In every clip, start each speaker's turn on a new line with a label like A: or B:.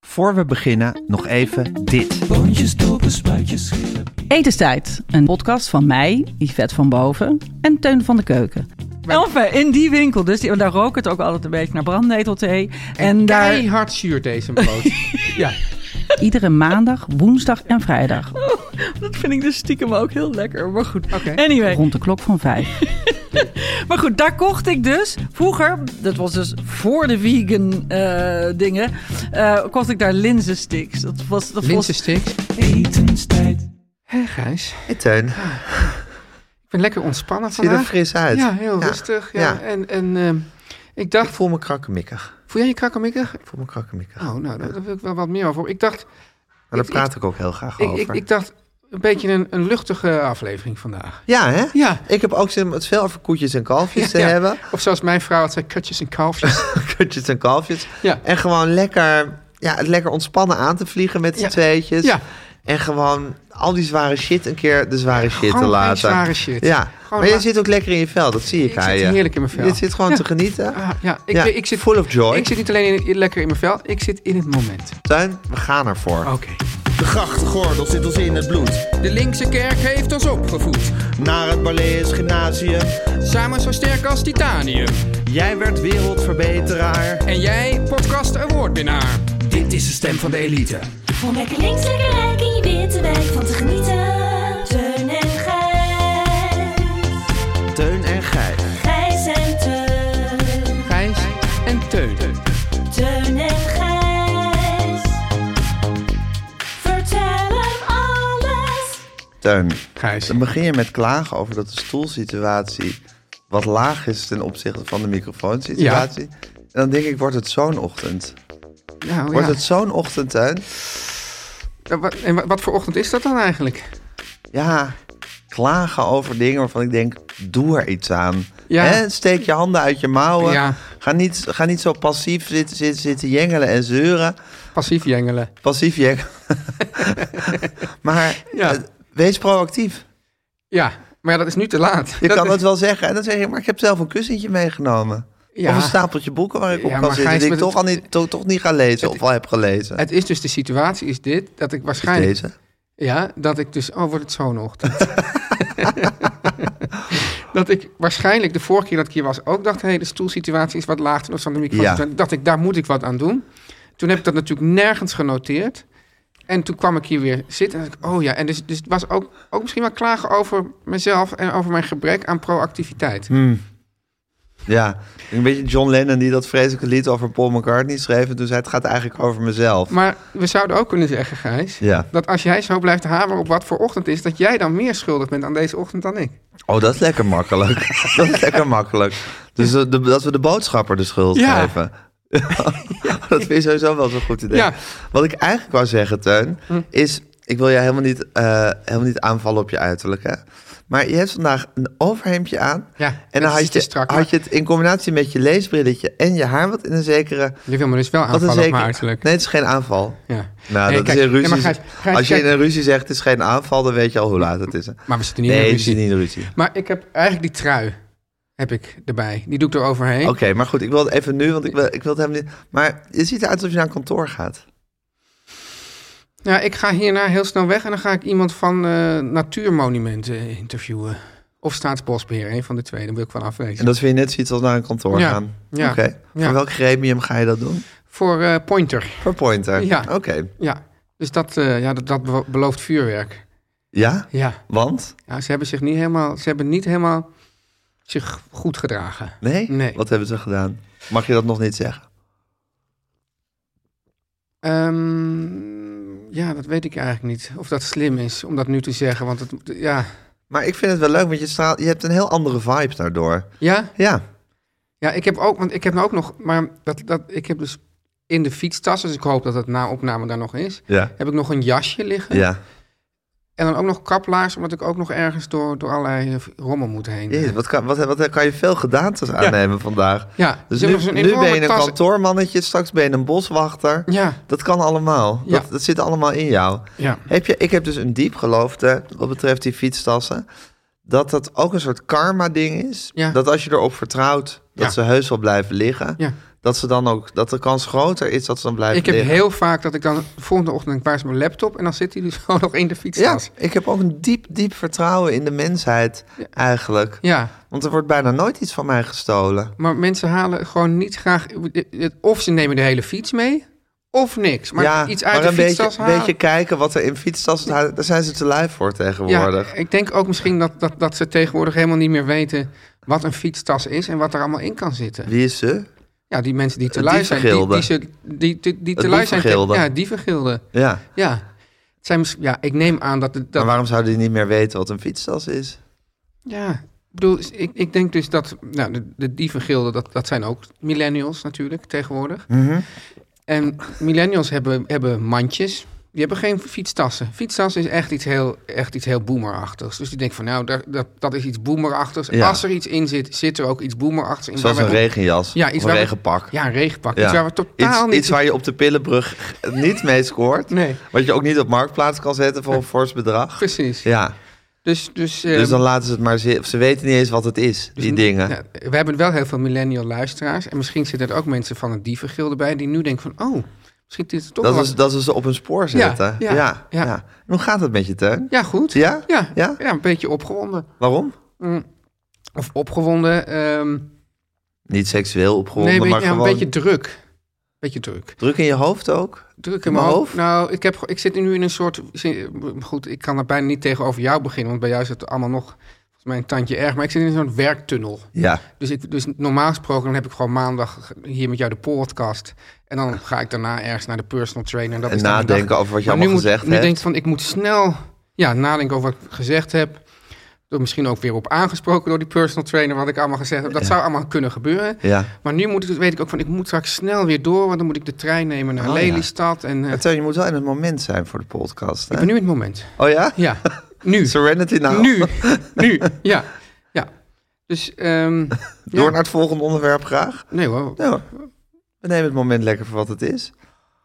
A: Voor we beginnen, nog even dit.
B: Boontjes, dopen, spuitjes, schillen.
C: Etenstijd, een podcast van mij, Yvette van Boven en Teun van de Keuken. Enfin, in die winkel dus. Die, daar rook het ook altijd een beetje naar brandnetelthee. En, daar
D: Keihard zuur deze brood. ja.
C: iedere maandag, woensdag en vrijdag
E: Dat vind ik dus stiekem ook heel lekker. Maar goed.
D: Oké.
E: Anyway.
C: rond de klok van vijf.
E: Maar goed, daar kocht ik dus vroeger, dat was dus voor de vegan eh, dingen, eh, kocht ik daar linzensticks. Dat was, dat was
D: Linsensticks.
B: etenstijd.
D: Hé Gijs,
A: Hey Teun,
D: ik ben lekker ontspannen
A: zie je er
D: vandaag.
A: fris uit?
D: Ja, heel rustig. Ja.
A: ja.
D: En, en ehm, ik
A: Ik
D: dacht,
A: voel me krakkemikkig.
D: voel jij je krakkemikkig?
A: Ik voel me krakkemikkig.
D: Oh, nou, daar daar wil ik wel wat meer over. horen. Ik dacht,
A: maar daar
D: ik-
A: praat ik, ook heel graag
D: ik,
A: over.
D: ik, ik dacht een beetje een, een luchtige aflevering vandaag.
A: ja, hè?
D: Ja.
A: Ik heb ook zin om het veel over koetjes en kalfjes
D: Ja,
A: te
D: ja.
A: hebben.
D: Of zoals mijn vrouw had zei, kutjes en kalfjes.
A: Koetjes en kalfjes.
D: Ja.
A: En gewoon lekker, ja, het lekker ontspannen aan te vliegen met z'n
D: Ja.
A: tweetjes.
D: Ja.
A: En gewoon al die zware shit een keer de zware shit
D: gewoon
A: te
D: geen
A: laten.
D: zware shit.
A: Ja.
D: Gewoon
A: maar je
D: la-
A: zit ook lekker in je vel, dat zie ik,
D: Ik zit
A: aan je.
D: heerlijk in mijn vel.
A: Je zit gewoon
D: Ja.
A: te genieten.
D: Ah, ja, ik,
A: Ja,
D: ik zit
A: full of joy.
D: Ik zit niet alleen in, in- lekker in mijn vel, ik zit in het moment.
A: Teun, we gaan ervoor.
D: Oké.
F: De grachtgordel zit ons in het bloed.
B: De linkse kerk heeft ons opgevoed.
F: Naar het Barlees Gymnasium.
B: Samen zo sterk als titanium.
F: Jij werd wereldverbeteraar.
B: En jij, podcast awardwinnaar. Dit is de stem van de elite.
G: Om lekker links, lekker rijk in je witte wijk van te genieten. Teun en Gijs.
F: Teun en Gijs.
G: Gijs en Teun.
D: Gijs en Teun.
G: Teun en Gijs. Vertel hem alles.
A: Teun,
D: Gijs.
A: dan begin je met klagen over dat de stoelsituatie wat laag is ten opzichte van de microfoonsituatie. En dan denk ik, wordt het zo'n ochtend?
D: Nou,
A: Wordt
D: ja.
A: het zo'n ochtend, Teun?
D: Ja, wat- En wa- wat voor ochtend is dat dan eigenlijk?
A: Ja, klagen over dingen waarvan ik denk, doe er iets aan.
D: Ja.
A: Hè, steek je handen uit je mouwen.
D: Ja.
A: Ga, niet, ga niet zo passief zitten, zitten, zitten jengelen en zeuren.
D: Passief jengelen.
A: Passief jengelen. maar
D: Ja.
A: eh, wees proactief.
D: Ja, maar ja, dat is nu te laat.
A: Je
D: dat
A: kan
D: is-
A: dat wel zeggen. En dan zeg je, maar ik heb zelf een kussentje meegenomen.
D: Ja.
A: Of een stapeltje boeken waar ik op
D: Ja,
A: kan
D: maar
A: zitten.
D: Gijs,
A: Die ik
D: maar
A: toch,
D: het-
A: al niet, to- toch niet ga lezen of al heb gelezen.
D: Het is dus de situatie is dit, dat ik
A: is
D: waarschijnlijk...
A: deze.
D: Ja, dat ik dus... Oh, wordt het zo'n ochtend. dat ik waarschijnlijk de vorige keer dat ik hier was ook dacht... hé, de stoelsituatie is wat laag ten opzichte van de microfoon.
A: Ja.
D: Toen dacht ik, daar moet ik wat aan doen. Toen heb ik dat natuurlijk nergens genoteerd. En toen kwam ik hier weer zitten en dacht ik, oh ja. En dus, dus het was ook, ook misschien wel klagen over mezelf... en over mijn gebrek aan proactiviteit.
A: Hmm. Ja, een beetje John Lennon die dat vreselijke lied over Paul McCartney schreef. En toen zei het gaat eigenlijk over mezelf.
D: Maar we zouden ook kunnen zeggen, Gijs...
A: Ja.
D: dat als jij zo blijft hameren op wat voor ochtend is... dat jij dan meer schuldig bent aan deze ochtend dan ik.
A: Oh, dat is lekker makkelijk. dat is lekker makkelijk. Dus de- de- dat we de boodschapper de schuld
D: Ja.
A: geven. dat vind je sowieso wel zo'n goed idee.
D: Ja. Hm.
A: Wat ik eigenlijk wou zeggen, Teun, is... Ik wil jij helemaal niet, eh, helemaal niet aanvallen op je uiterlijk, hè? Maar je hebt vandaag een overhemdje aan.
D: Ja,
A: en dan
D: het is
A: had
D: te
A: je,
D: strak, maar-
A: had je het in combinatie met je leesbrilletje en je haar... wat in een zekere...
D: Je wil me dus wel
A: Wat een
D: aanvallen op
A: zeker...
D: mijn uiterlijk.
A: Nee, het is geen aanval.
D: Ja.
A: Nou,
D: Nee,
A: dat
D: kijk,
A: is een
D: nee,
A: ruzie.
D: maar Gijs- Gijs,
A: Als je
D: kijk-
A: in een ruzie zegt het is geen aanval, dan weet je al hoe laat het is.
D: Maar we zitten niet
A: Nee,
D: in de
A: het is
D: ruzie.
A: niet een ruzie.
D: Maar ik heb eigenlijk die trui. heb ik erbij. Die doe ik er overheen.
A: Oké, maar goed, ik wil het even nu, want ik wil, ik wil het hem niet... Maar je ziet eruit alsof je naar een kantoor gaat.
D: Ja, ik ga hierna heel snel weg en dan ga ik iemand van eh, Natuurmonumenten interviewen. Of Staatsbosbeheer, een van de twee. Dan wil ik wel afwezen.
A: En dat vind je net zoiets als naar een kantoor
D: Ja,
A: gaan.
D: ja,
A: Oké,
D: ja.
A: voor welk gremium ga je dat doen?
D: Voor eh, Pointer,
A: Voor Pointer?
D: Ja.
A: Oké.
D: ja. Dus dat, eh, ja, dat, dat be- belooft vuurwerk.
A: Ja?
D: Ja.
A: Want?
D: ja, ze hebben zich niet helemaal, ze hebben niet helemaal zich goed gedragen.
A: Nee?
D: Nee.
A: Wat hebben ze gedaan? Mag je dat nog niet zeggen?
D: Ehm, ja, dat weet ik eigenlijk niet. Of dat slim is om dat nu te zeggen. Want het, ja.
A: Maar ik vind het wel leuk, want je, straalt, je hebt een heel andere vibe daardoor.
D: Ja?
A: Ja.
D: ja, ik heb ook, want ik heb nou ook nog, maar dat, dat, ik heb dus in de fietstas, dus ik hoop dat het na opname daar nog is,
A: Ja.
D: heb ik nog een jasje liggen.
A: Ja.
D: En dan ook nog kaplaars, omdat ik ook nog ergens door, door allerlei eh, rommel moet heen.
A: Jezus, wat, kan, wat, wat kan je veel gedaantes aannemen vandaag?
D: Ja,
A: Dus
D: ik heb
A: nu,
D: nog zo'n
A: nu
D: enorme
A: ben je een
D: tas-
A: kantoormannetje, straks ben je een boswachter.
D: Ja,
A: Dat kan allemaal.
D: Ja.
A: Dat, dat zit allemaal in jou.
D: ja.
A: Heb je, ik heb dus een diep geloof, hè, wat betreft die fietstassen, dat dat ook een soort karma-ding is.
D: Ja.
A: Dat als je erop vertrouwt dat
D: Ja.
A: ze heus wel blijven liggen,
D: Ja.
A: dat, ze dan ook, dat de kans groter is dat ze dan blijven
D: Ik heb
A: liggen.
D: heel vaak dat ik dan de volgende ochtend, ik waar is mijn laptop? En dan zit hij dus gewoon nog in de
A: ja,
D: fietstas.
A: ik heb ook een diep, diep vertrouwen in de mensheid eigenlijk.
D: Ja,
A: Want er wordt bijna nooit iets van mij gestolen.
D: maar mensen halen gewoon niet graag, of ze nemen de hele fiets mee, of niks. Maar
A: ja,
D: iets uit
A: maar
D: de
A: een
D: fietstas
A: beetje,
D: halen.
A: beetje kijken wat er in fietstassen staat. Daar zijn ze te lui voor tegenwoordig.
D: Ja, ik denk ook misschien dat, dat, dat ze tegenwoordig helemaal niet meer weten wat een fietstas is en wat er allemaal in kan zitten.
A: Wie is ze?
D: Ja, die mensen die te
A: Het
D: lui zijn. Die,
A: dievengilde.
D: die, ze, die, die, die te
A: Het
D: lui zijn. tegen-
A: boevengilde.
D: Ja, dievengilde.
A: Ja.
D: Ja. Het zijn misschien, ja, ik neem aan dat... het-
A: Maar
D: dat
A: waarom zouden die niet meer weten wat een fietstas is?
D: ja, ik bedoel, ik, ik denk dus dat... Nou, de, de dievengilden, dat, dat zijn ook millennials natuurlijk tegenwoordig.
A: Mhm.
D: En millennials hebben, hebben mandjes. Die hebben geen fietstassen. Fietstassen is echt iets heel, echt iets heel boomerachtigs. Dus die denken van, nou, daar, dat, dat is iets boomerachtigs.
A: Ja.
D: Als er iets in zit, zit er ook iets boomerachtigs in.
A: Zoals
D: waar
A: een
D: wij-
A: regenjas
D: Ja, iets
A: of een
D: waar we-
A: regenpak.
D: Ja, een regenpak.
A: Ja.
D: Iets waar we totaal
A: iets,
D: niet...
A: iets waar je op de Pillenbrug niet mee scoort.
D: Nee.
A: Wat je ook niet op marktplaats kan zetten voor een fors bedrag.
D: Precies.
A: Ja,
D: Dus, dus,
A: dus
D: ehm,
A: dan laten ze het maar zitten. Ze weten niet eens wat het is, die dingen.
D: Dus Ja, we hebben wel heel veel millennial luisteraars. En misschien zitten er ook mensen van het dievengilde bij die nu denken van... Oh, misschien is het toch
A: dat,
D: wel
A: is,
D: wat-
A: dat is ze op een spoor zetten. Ja,
D: ja,
A: ja,
D: ja.
A: En Hoe gaat het met je tuin?
D: Ja, goed.
A: Ja?
D: Ja,
A: Ja?
D: ja? een beetje opgewonden.
A: Waarom?
D: Of opgewonden. ehm,
A: Niet seksueel opgewonden,
D: nee, een
A: maar
D: beetje, ja,
A: gewoon
D: een beetje druk. Beetje druk.
A: druk in je hoofd ook.
D: Druk
A: In
D: in mijn
A: mijn
D: hoofd. Nou, ik, heb, ik zit nu in een soort... Goed, ik kan er bijna niet tegenover jou beginnen. Want bij jou is het allemaal nog... volgens mij een tandje erg. Maar ik zit in zo'n werktunnel.
A: Ja,
D: Dus, ik, dus normaal gesproken dan heb ik gewoon maandag hier met jou de podcast. En dan ga ik daarna ergens naar de personal trainer. En, dat
A: En
D: is dan mijn
A: nadenken
D: dag.
A: over wat je
D: Maar
A: allemaal
D: nu
A: gezegd
D: moet,
A: hebt.
D: Nu denk ik van, ik moet snel ja, nadenken over wat ik gezegd heb. Door misschien ook weer op aangesproken door die personal trainer wat ik allemaal gezegd heb. Dat zou allemaal kunnen gebeuren.
A: ja.
D: Maar nu moet ik, weet ik ook van, ik moet straks snel weer door. Want dan moet ik de trein nemen naar
A: Oh, ja.
D: Lelystad. En, eh,
A: Maar Teun, je moet wel in het moment zijn voor de podcast.
D: ik
A: hè?
D: ben nu in het moment.
A: Oh ja?
D: Ja, nu.
A: Serenity nou.
D: Nu. Nu. Ja. Ja. Dus, ehm,
A: Door
D: ja.
A: naar het volgende onderwerp graag.
D: Nee hoor.
A: Nou, we nemen het moment lekker voor wat het is.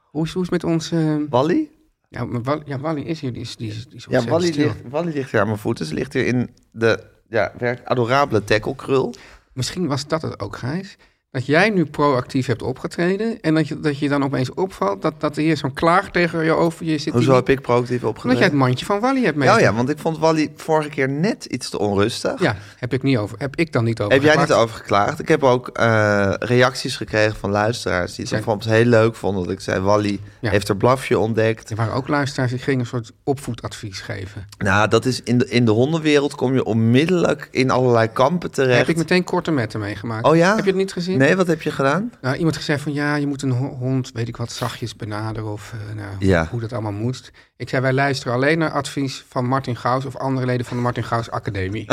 D: Hoe is, hoe is het met ons... ehm,
A: Wally?
D: Ja, maar Wall- ja, Wally is hier. Die is, die is, die is
A: Ja,
D: ontzettend
A: Wally
D: stil.
A: ligt, Wally ligt hier aan mijn voeten. Ze ligt hier in de ja, werkt adorabele tacklekrul.
D: Misschien was dat het ook, Gijs. Dat jij nu proactief hebt opgetreden. En dat je, dat je dan opeens opvalt dat, dat er hier zo'n klaag tegen je over je zit. die
A: Hoezo
D: niet-
A: heb ik proactief
D: Omdat jij het
A: opgelegd?
D: mandje van Wally hebt mee.
A: Ja, ja, want ik vond Wally vorige keer net iets te onrustig.
D: Ja, heb ik, niet over, heb ik dan niet over.
A: Heb jij niet
D: geklaagd.
A: over geklaagd? Ik heb ook eh, reacties gekregen van luisteraars die het
D: Zijn-
A: soms heel leuk vonden dat ik zei: Wally
D: Ja.
A: heeft er blafje ontdekt.
D: Er waren ook luisteraars die gingen een soort opvoedadvies geven.
A: Nou, dat is in de, in de hondenwereld kom je onmiddellijk in allerlei kampen terecht.
D: Heb ik meteen korte metten meegemaakt.
A: Oh ja?
D: Heb je het niet gezien?
A: Nee, wat heb je gedaan?
D: Nou, iemand gezegd van ja, je moet een ho- hond, weet ik wat, zachtjes benaderen of eh, nou,
A: Ja.
D: hoe dat allemaal moet. Ik zei, wij luisteren alleen naar advies van Martin Gauws of andere leden van de Martin Gauws Academie.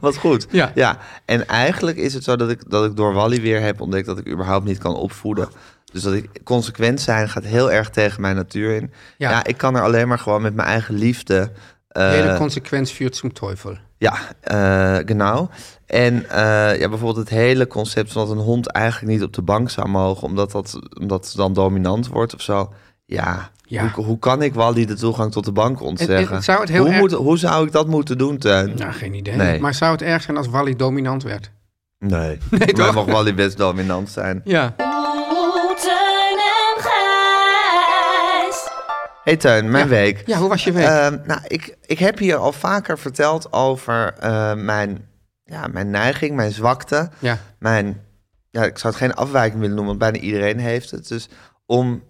A: Wat goed.
D: Ja.
A: En eigenlijk is het zo dat ik, dat ik door Wally weer heb ontdekt dat ik überhaupt niet kan opvoeden. Dus dat ik consequent zijn gaat heel erg tegen mijn natuur in. Ja,
D: Ja.
A: ik kan er alleen maar gewoon met mijn eigen liefde. eh,
D: Jede consequentie führt zum Teufel.
A: ja, eh genau. En eh, ja, bijvoorbeeld het hele concept van dat een hond eigenlijk niet op de bank zou mogen, omdat, dat, omdat ze dan dominant wordt of zo. Ja,
D: Ja.
A: Hoe, hoe kan ik Wally de toegang tot de bank ontzeggen?
D: het zou het heel
A: hoe,
D: erg-
A: moet, hoe zou ik dat moeten doen, Teun?
D: Nou, geen idee.
A: Nee.
D: Maar zou het erg zijn als Wally dominant werd?
A: Nee, nee
D: toch?
A: mag wel die best dominant zijn.
D: Ja.
G: Oeh, Oh, Teun en Gijs.
A: Hey Tuin, mijn week.
D: Ja, hoe was je week?
A: Ehm, nou, ik, ik heb hier al vaker verteld over eh, mijn, ja, mijn neiging, mijn zwakte.
D: Ja.
A: Mijn, ja, ik zou het geen afwijking willen noemen, want bijna iedereen heeft het. Dus om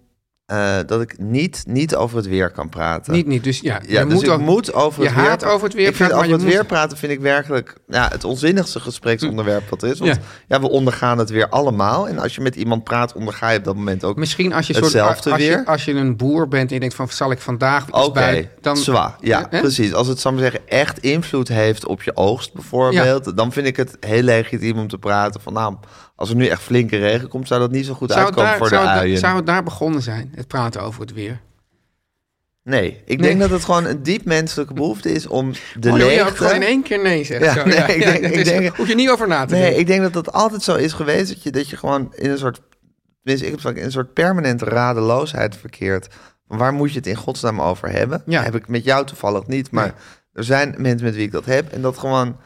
A: eh, dat ik niet, niet over het weer kan praten.
D: Niet, niet. Dus ja,
A: Ja,
D: je
A: dus
D: moet
A: ik
D: ook-
A: moet over
D: je
A: het weer...
D: haat over het weer
A: ik vind
D: praten, maar
A: over
D: je
A: het
D: moet-
A: weer praten vind ik werkelijk ja, het onzinnigste gespreksonderwerp wat er is. Want ja.
D: Ja.
A: we ondergaan het weer allemaal. En als je met iemand praat, onderga je op dat moment ook
D: Misschien als je, soort,
A: hetzelfde
D: als,
A: weer.
D: Je, als je een boer bent en je denkt van zal ik vandaag iets
A: Oké,
D: Dus bij... Eh,
A: zwa. Ja,
D: Hè?
A: precies. Als het, zou ik maar zeggen, echt invloed heeft op je oogst bijvoorbeeld... dan vind ik het heel legitiem om te praten van... nou, als er nu echt flinke regen komt, zou dat niet zo goed
D: Zou het,
A: uitkomen
D: daar,
A: voor
D: zou,
A: de
D: het,
A: uien.
D: zou het daar begonnen zijn, het praten over het weer?
A: Nee, ik
D: Nee.
A: denk dat het gewoon een diep menselijke behoefte is om de
D: Oh, dan wil je ook
A: leegte...
D: gewoon in één keer nee zeggen.
A: Ja,
D: Zo,
A: nee,
D: ja,
A: ik
D: ja,
A: denk-
D: dat
A: ik
D: is-
A: denk-
D: hoef je niet over na te
A: Nee,
D: denken.
A: ik denk dat dat altijd zo is geweest. Dat je, dat je gewoon in een soort. tenminste, ik heb het vaak in een soort permanente radeloosheid verkeert. Waar moet je het in godsnaam over hebben?
D: Ja.
A: Heb ik met jou toevallig niet. Maar er zijn mensen met wie ik dat heb. En dat gewoon.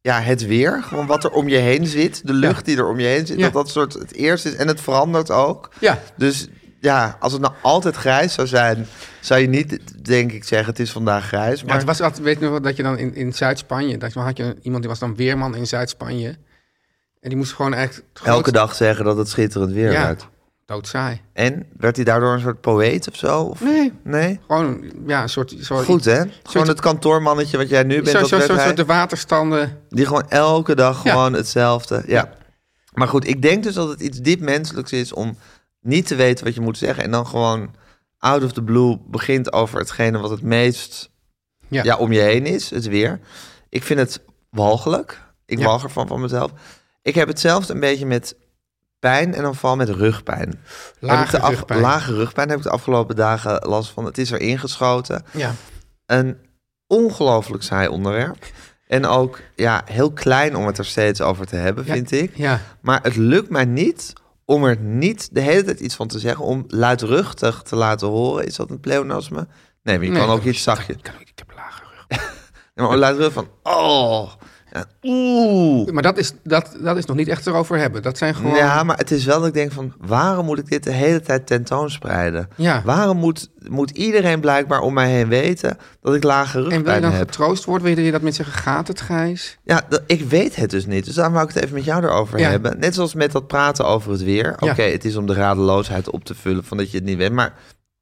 A: Ja, het weer. Gewoon wat er om je heen zit. De lucht die er om je heen zit.
D: Ja.
A: Dat dat soort het eerste is. En het verandert ook.
D: Ja.
A: Dus ja, als het nou altijd grijs zou zijn. zou je niet, denk ik, zeggen: het is vandaag grijs.
D: Ja,
A: Maar
D: het was altijd, weet je nog wel, dat je dan in, in Zuid-Spanje, dat had je iemand die was dan weerman in Zuid-Spanje. En die moest gewoon echt het
A: elke
D: grootste-
A: dag zeggen dat het schitterend weer
D: Ja.
A: wordt.
D: doodsaai.
A: En werd hij daardoor een soort poëet of zo? Of?
D: Nee.
A: Nee?
D: Gewoon ja, een soort, soort
A: Goed hè? Gewoon het kantoormannetje wat jij nu bent,
D: Zo,
A: dat
D: zo,
A: werd
D: zo,
A: hij.
D: zo de waterstanden.
A: Die gewoon elke dag
D: Ja.
A: gewoon hetzelfde. Ja. Maar goed, ik denk dus dat het iets diep menselijks is om niet te weten wat je moet zeggen. En dan gewoon out of the blue begint over hetgene wat het meest ja.
D: Ja.
A: om je heen is. Het weer. Ik vind het walgelijk. Ik
D: Ja.
A: walg ervan van mezelf. Ik heb hetzelfde een beetje met pijn en dan vooral met rugpijn. Heb ik
D: Lage
A: de af-
D: rugpijn.
A: Lage rugpijn heb ik de afgelopen dagen last van. Het is er ingeschoten.
D: Ja.
A: Een ongelooflijk saai onderwerp. En ook ja, heel klein om het er steeds over te hebben,
D: Ja.
A: vind ik.
D: Ja.
A: Maar het lukt mij niet om er niet de hele tijd iets van te zeggen. Om luidruchtig te laten horen. Is dat een pleonasme? Nee, maar je
D: Nee,
A: kan ook
D: dat-
A: iets zachtjes.
D: Ik, ik heb lage rug.
A: Nee, maar luidruchtig van... Oh, ja, oeh.
D: Maar dat is, dat, dat is nog niet echt erover hebben. Dat zijn gewoon...
A: Ja, maar het is wel dat ik denk van... waarom moet ik dit de hele tijd tentoonspreiden?
D: Ja.
A: Waarom moet, moet iedereen blijkbaar om mij heen weten... dat ik lage
D: en wil je
A: rugpijn
D: dan
A: heb?
D: getroost worden? Wil je dat mensen zeggen, gaat het Gijs?
A: Ja, dat- ik weet het dus niet. Dus daar wou ik het even met jou erover
D: Ja.
A: hebben. Net zoals met dat praten over het weer. Oké,
D: Ja.
A: het is om de radeloosheid op te vullen van dat je het niet weet. Maar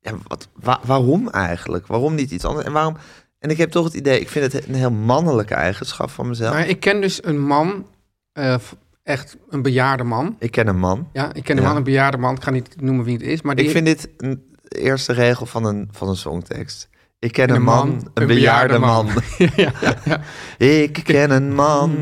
A: ja, wat, wa- waarom eigenlijk? Waarom niet iets anders? En waarom... En ik heb toch het idee, ik vind het een heel mannelijke eigenschap van mezelf.
D: Maar ik ken dus een man, eh, v- echt een bejaarde man.
A: Ik ken een man.
D: Ja, ik ken een
A: Ja.
D: man, een bejaarde man. Ik ga niet noemen wie het is. Maar die,
A: Ik vind dit een de eerste regel van een, van een songtekst. Ik ken een, man, een, bejaarde, man.
D: ja, ja, ja.
A: Ik ken een
D: Hmm.
A: man,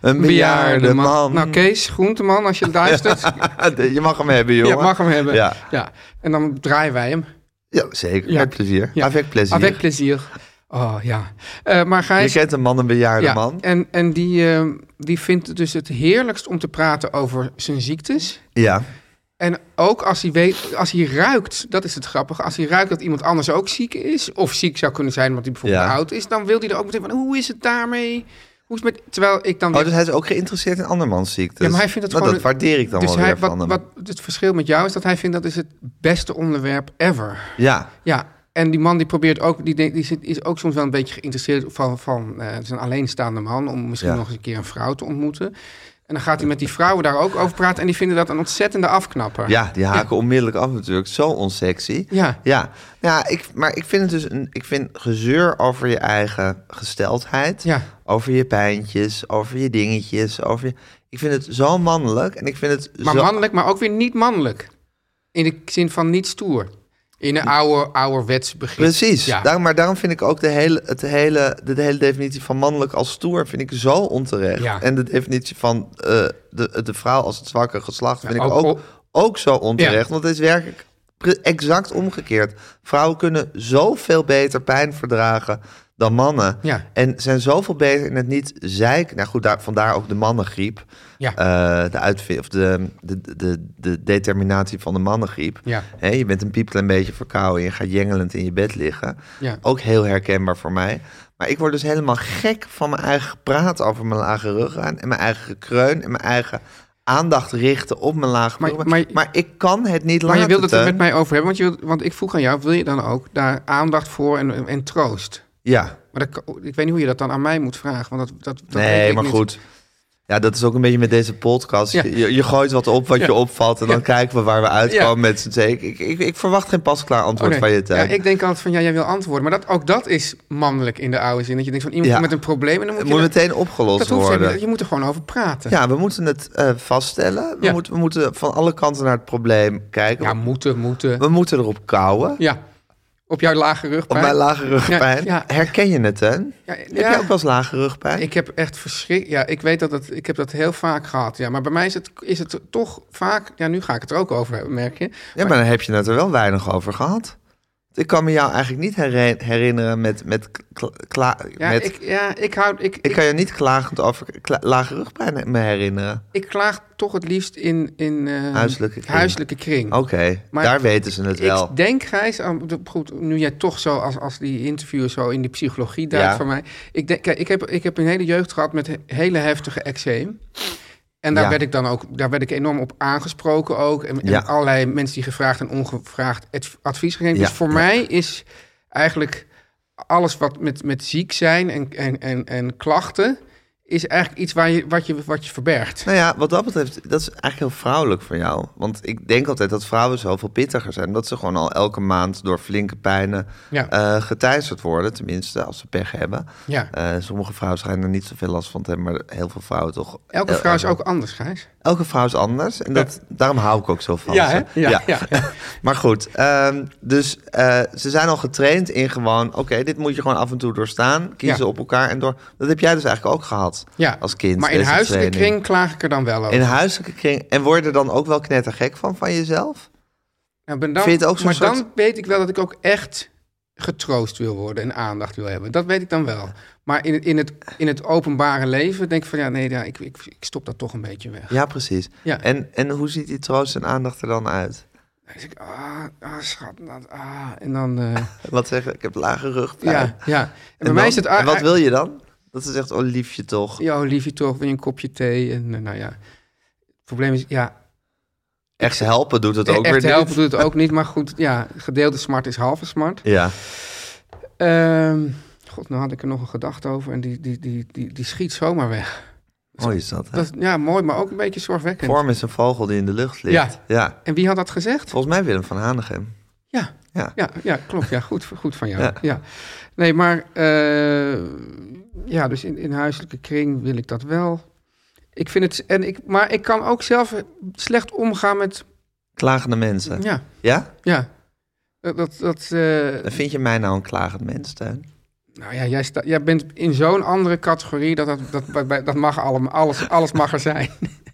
A: een bejaarde man.
D: Nou, Kees, groenteman, als je luistert.
A: je mag hem hebben, jongen.
D: ja, mag hem hebben.
A: Ja.
D: Ja. En dan draaien wij hem.
A: Ja, zeker.
D: Ja.
A: Met plezier.
D: Ja.
A: Avec plezier.
D: Avec plezier. Oh, ja. Eh, maar
A: Je
D: Gijs...
A: kent een man, een bejaarde
D: ja,
A: man.
D: En, en die, eh, die vindt het dus het heerlijkst om te praten over zijn ziektes.
A: Ja.
D: En ook als hij, weet, als hij ruikt, dat is het grappige, als hij ruikt dat iemand anders ook ziek is, of ziek zou kunnen zijn omdat hij bijvoorbeeld
A: Ja.
D: oud is, dan wil hij er ook meteen van, hoe is het daarmee? Hoe is het met... Terwijl ik dan...
A: Oh,
D: weer-
A: dus hij is ook geïnteresseerd in andermans ziektes.
D: Ja, maar hij vindt het
A: Nou,
D: gewoon...
A: Dat waardeer ik dan
D: dus
A: wel
D: hij,
A: weer van
D: wat,
A: hem.
D: wat, Het verschil met jou is dat hij vindt dat is het beste onderwerp ever.
A: Ja.
D: Ja, en die man die probeert ook... Die, denkt, die zit, is ook soms wel een beetje geïnteresseerd van... van eh, het is een alleenstaande man om misschien
A: Ja.
D: nog eens een keer een vrouw te ontmoeten. En dan gaat hij met die vrouwen daar ook over praten. En die vinden dat een ontzettende afknapper.
A: ja, die haken onmiddellijk af natuurlijk. Zo onsexy.
D: Ja.
A: Ja, ja ik, maar ik vind het dus een, ik vind gezeur over je eigen gesteldheid.
D: Ja.
A: Over je pijntjes, over je dingetjes. Over je, ik vind het zo mannelijk. En ik vind het
D: Maar
A: zo...
D: mannelijk, maar ook weer niet mannelijk. In de zin van niet stoer. In een oude, ouderwets begrip.
A: Precies.
D: Ja.
A: Daarom- maar daarom vind ik ook de hele, het hele, de, de hele definitie van mannelijk als stoer vind ik zo onterecht.
D: Ja.
A: En de definitie van eh, de, de vrouw als het zwakke geslacht vind ik
D: ook-
A: ook, ook zo onterecht.
D: Ja.
A: Want het is werkelijk pre- exact omgekeerd. Vrouwen kunnen zoveel beter pijn verdragen dan mannen.
D: Ja.
A: En zijn zoveel beter in het niet zeiken. Nou goed, daar, vandaar ook de mannengriep.
D: Ja.
A: Eh, de, uitvi- of de, de, de, de determinatie van de mannengriep.
D: Ja.
A: Hè, je bent een piepklein beetje verkouden. Je gaat jengelend in je bed liggen.
D: Ja.
A: Ook heel herkenbaar voor mij. Maar ik word dus helemaal gek van mijn eigen gepraat over mijn lage ruggaan. En mijn eigen gekreun. En mijn eigen aandacht richten op mijn lage
D: Maar-
A: ruggaan.
D: maar-
A: maar ik kan het niet
D: Maar
A: laten.
D: je wilde het er
A: Teun.
D: met mij over hebben, want, je wilt, want ik vroeg aan jou, wil je dan ook daar aandacht voor en, en troost?
A: Ja.
D: Maar dat, kan- ik weet niet hoe je dat dan aan mij moet vragen, want dat, dat, dat weet
A: nee,
D: ik
A: maar
D: niet.
A: goed. Ja, dat is ook een beetje met deze podcast.
D: Ja.
A: Je, je gooit wat op wat je opvalt en dan kijken we waar we uitkomen
D: Ja.
A: met z'n tweeën. Ik, ik, ik, ik verwacht geen pasklaar
D: Oh,
A: antwoord
D: nee.
A: van je tijd.
D: Ja, ik denk altijd van, ja, jij wil antwoorden. Maar dat, ook dat is mannelijk in de oude zin. Dat je denkt van, iemand
A: Ja.
D: komt met een probleem en dan moet
A: het
D: je...
A: moet
D: er-
A: meteen opgelost
D: dat hoeft helemaal
A: worden.
D: niet. Je moet er gewoon over praten.
A: Ja, we moeten het eh, vaststellen. We,
D: Ja.
A: moeten, we moeten van alle kanten naar het probleem kijken.
D: Ja, moeten, moeten.
A: We moeten erop kouwen.
D: Ja. Op jouw lage rugpijn.
A: Op mijn lage rugpijn.
D: Ja, ja.
A: Herken je het, hè?
D: Ja,
A: Heb
D: ja.
A: je ook wel eens lage rugpijn?
D: Ik heb echt verschrik. Ja, ik weet dat het, ik heb dat heel vaak gehad. Ja, maar bij mij is het, is het toch vaak. Ja, nu ga ik het er ook over hebben, merk je.
A: Ja, maar dan heb je het er wel weinig over gehad. Ik kan me jou eigenlijk niet heren- herinneren met... met, kla- kla-
D: Ja,
A: met
D: ik, ja ik hou. Ik,
A: Ik
D: ik,
A: kan je niet klagend over kla- lage rugpijn me herinneren.
D: ik klaag toch het liefst in. in eh,
A: Huiselijke kring.
D: huiselijke kring.
A: Oké,
D: Maar
A: daar weten ze het wel.
D: Ik denk, Gijs, aan- de- goed, nu jij toch zo als, als die interviewer zo in die psychologie duikt
A: Ja.
D: voor mij. Ik, denk, kijk, ik, heb, ik heb een hele jeugd gehad met he- hele heftige eczeem. En daar
A: Ja.
D: werd ik dan ook daar werd ik enorm op aangesproken ook. En, en
A: Ja.
D: allerlei mensen die gevraagd en ongevraagd adv- advies gegeven. Dus
A: Ja,
D: voor
A: ja.
D: mij is eigenlijk alles wat met, met ziek zijn en, en, en, en klachten... is eigenlijk iets waar je, wat, je, wat je verbergt.
A: Nou ja, wat dat betreft, dat is eigenlijk heel vrouwelijk van jou. Want ik denk altijd dat vrouwen zoveel pittiger zijn. Dat ze gewoon al elke maand door flinke pijnen
D: Ja.
A: eh, geteisterd worden. Tenminste, als ze pech hebben.
D: Ja.
A: Eh, sommige vrouwen schijnen er niet zoveel last van te hebben, maar heel veel vrouwen toch.
D: Elke
A: heel
D: vrouw is
A: erg.
D: ook anders, Gijs.
A: Elke vrouw is anders. En dat, daarom hou ik ook zo van ze.
D: hè? Ja, ja. ja.
A: Maar goed, ehm, dus eh, ze zijn al getraind in gewoon... oké, dit moet je gewoon af en toe doorstaan. Kiezen
D: Ja.
A: op elkaar en door... Dat heb jij dus eigenlijk ook gehad
D: Ja,
A: als kind.
D: Maar in
A: deze
D: huiselijke
A: training.
D: kring klaag ik er dan wel over.
A: In huiselijke kring. En word je er dan ook wel knettergek van, van jezelf?
D: Nou, ben dan,
A: vind je het ook zo'n
D: maar dan
A: soort-
D: weet ik wel dat ik ook echt getroost wil worden en aandacht wil hebben. Dat weet ik dan wel. Maar in, in, het, in het openbare leven denk ik van ja, nee, ja, ik, ik, ik stop dat toch een beetje weg.
A: Ja, precies.
D: Ja.
A: En, en hoe ziet die troost en aandacht er dan uit?
D: Dan zeg ik, ah, ah schat, nou, ah, en dan... eh,
A: Wat zeggen? Ik heb lage rugpijn.
D: ja, ja. En, bij
A: dan?
D: mij is het...
A: en wat wil je dan? Dat ze zegt, oh liefje toch.
D: Ja, liefje toch, wil je een kopje thee? En eh, nou ja, het probleem is, ja,
A: Echt helpen doet het ook
D: echt
A: weer
D: helpen
A: niet.
D: doet het ook niet. Maar goed, ja, gedeelde smart is halve smart.
A: Ja,
D: Ehm, God, nou had ik er nog een gedachte over en die, die, die, die, die schiet zomaar weg.
A: mooi is dat. hè?
D: Dat, is- ja, mooi, maar ook een beetje zorgwekkend.
A: Vorm is een vogel die in de lucht ligt.
D: Ja.
A: ja.
D: En wie had dat gezegd?
A: Volgens mij Willem van Hanegem.
D: Ja,
A: Ja.
D: ja, ja klopt. Ja, goed, goed van jou. Ja.
A: Ja.
D: Nee, maar eh, ja, dus in, in huiselijke kring wil ik dat wel. Ik vind het, en ik, maar ik kan ook zelf slecht omgaan met,
A: Klagende mensen. Ja?
D: ja, ja. Dat, dat, dat, eh,
A: Dan vind je mij nou een klagend mens, Teun?
D: nou ja, jij, sta, jij bent in zo'n andere categorie dat, dat, dat, bij- bij- dat mag allemaal, alles, alles mag er zijn.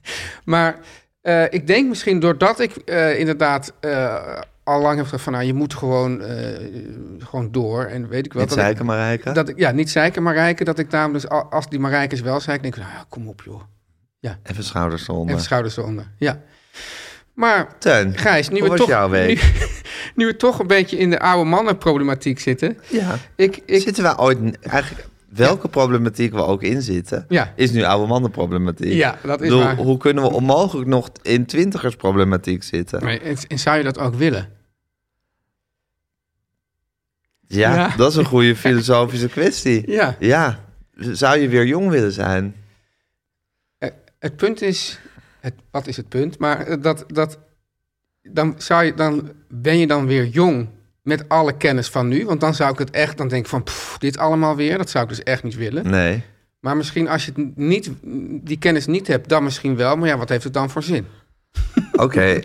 D: maar eh, ik denk misschien doordat ik eh, inderdaad eh al lang heb gezegd van nou, je moet gewoon, eh, gewoon door en weet ik wel.
A: Niet
D: dat ik-
A: zeiken, Marijke.
D: Dat ik, ja, niet zeiken Marijke. Dat ik daarom dus, al- als die Marijkes wel zeiken, denk ik, nou ja, kom op joh.
A: Even schouders eronder.
D: Even schouders eronder. Ja. Maar
A: Teun,
D: Gijs, nu
A: hoe
D: we,
A: was
D: toch,
A: jouw
D: nu,
A: week?
D: nu we toch een beetje in de oude mannenproblematiek zitten.
A: Ja.
D: Ik, ik,
A: Zitten we ooit... Eigenlijk, welke problematiek we ook in zitten,
D: Ja.
A: is nu oude mannenproblematiek.
D: Ja, dat is
A: Ik bedoel,
D: waar.
A: Hoe kunnen we onmogelijk nog in twintigersproblematiek zitten?
D: maar, en- en zou je dat ook willen?
A: Ja,
D: Ja.
A: dat is een goede filosofische kwestie.
D: Ja.
A: Ja, zou je weer jong willen zijn?
D: Het punt is, het, wat is het punt? Maar eh, dat, dat, dan, zou je, dan ben je dan weer jong met alle kennis van nu. Want dan zou ik het echt, dan denk ik van, pff, dit allemaal weer. Dat zou ik dus echt niet willen.
A: Nee.
D: Maar misschien als je het niet, die kennis niet hebt, dan misschien wel. Maar ja, wat heeft het dan voor zin?
A: Oké,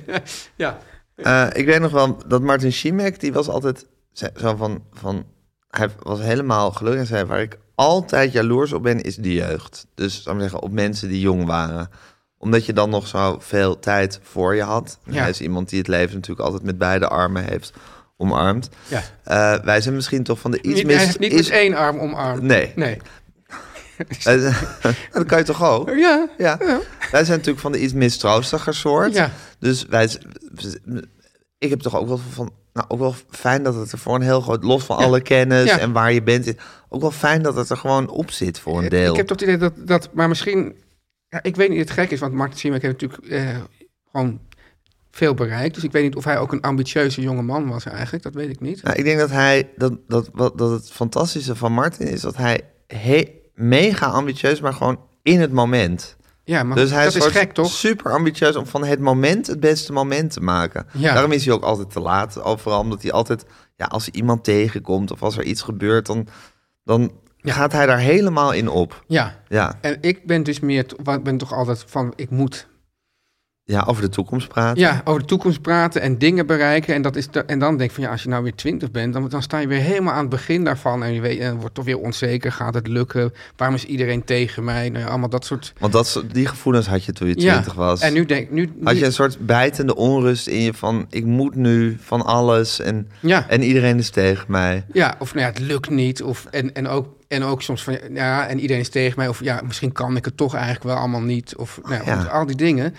D: Ja.
A: Eh, ik weet nog wel dat Martin Schimek, die was altijd ze- zo van, van... Hij was helemaal gelukkig en zei... Waar ik altijd jaloers op ben, is de jeugd. Dus, zou ik maar zeggen, op mensen die jong waren. Omdat je dan nog zo veel tijd voor je had. En
D: Ja.
A: Hij is iemand die het leven natuurlijk altijd met beide armen heeft omarmd.
D: Ja.
A: Eh, wij zijn misschien toch van de iets
D: Niet,
A: mis...
D: hij heeft niet
A: is-
D: met één arm omarmd.
A: Nee.
D: Nee.
A: Eh, dat kan je toch ook?
D: Ja.
A: Ja. Wij zijn natuurlijk van de iets mistroostige soort.
D: Ja.
A: Dus wij... z- Ik heb toch ook wel van... Nou, ook wel fijn dat het er voor een heel groot... Los van alle kennis
D: Ja.
A: en waar je bent... Ook wel fijn dat het er gewoon op zit voor een deel.
D: Ik heb toch het idee dat, dat maar misschien, ja, ik weet niet of het gek is, want Martin Siemek heeft natuurlijk eh, gewoon veel bereikt. Dus ik weet niet of hij ook een ambitieuze jonge man was eigenlijk, dat weet ik niet.
A: Nou, ik denk dat hij dat, dat, wat, dat het fantastische van Martin is dat hij he- mega ambitieus, maar gewoon in het moment.
D: Ja, maar
A: dus hij
D: dat is
A: soort
D: gek toch?
A: super ambitieus om van het moment het beste moment te maken.
D: Ja.
A: Daarom is hij ook altijd te laat. Overal omdat hij altijd, ja, als hij iemand tegenkomt of als er iets gebeurt, dan, dan gaat hij daar helemaal in op.
D: Ja.
A: Ja,
D: En ik ben dus meer, t- wa- ben toch altijd van, ik moet
A: ja over de toekomst praten.
D: ja, over de toekomst praten en dingen bereiken. En, dat is de- en dan denk ik van, ja, als je nou weer twintig bent, dan, dan sta je weer helemaal aan het begin daarvan. En je weet, en wordt toch weer onzeker, gaat het lukken? Waarom is iedereen tegen mij? Nou ja, allemaal dat soort...
A: Want dat, soort- die gevoelens had je toen je
D: Ja.
A: twintig was.
D: En nu denk nu,
A: Had
D: nu-
A: je een soort bijtende onrust in je van ik moet nu van alles en,
D: Ja.
A: en iedereen is tegen mij.
D: Ja, of nou ja, het lukt niet. Of, en, en, ook, en ook soms van, ja, en iedereen is tegen mij. Of ja, misschien kan ik het toch eigenlijk wel allemaal niet. Of nou, ja,
A: Ja.
D: al die dingen.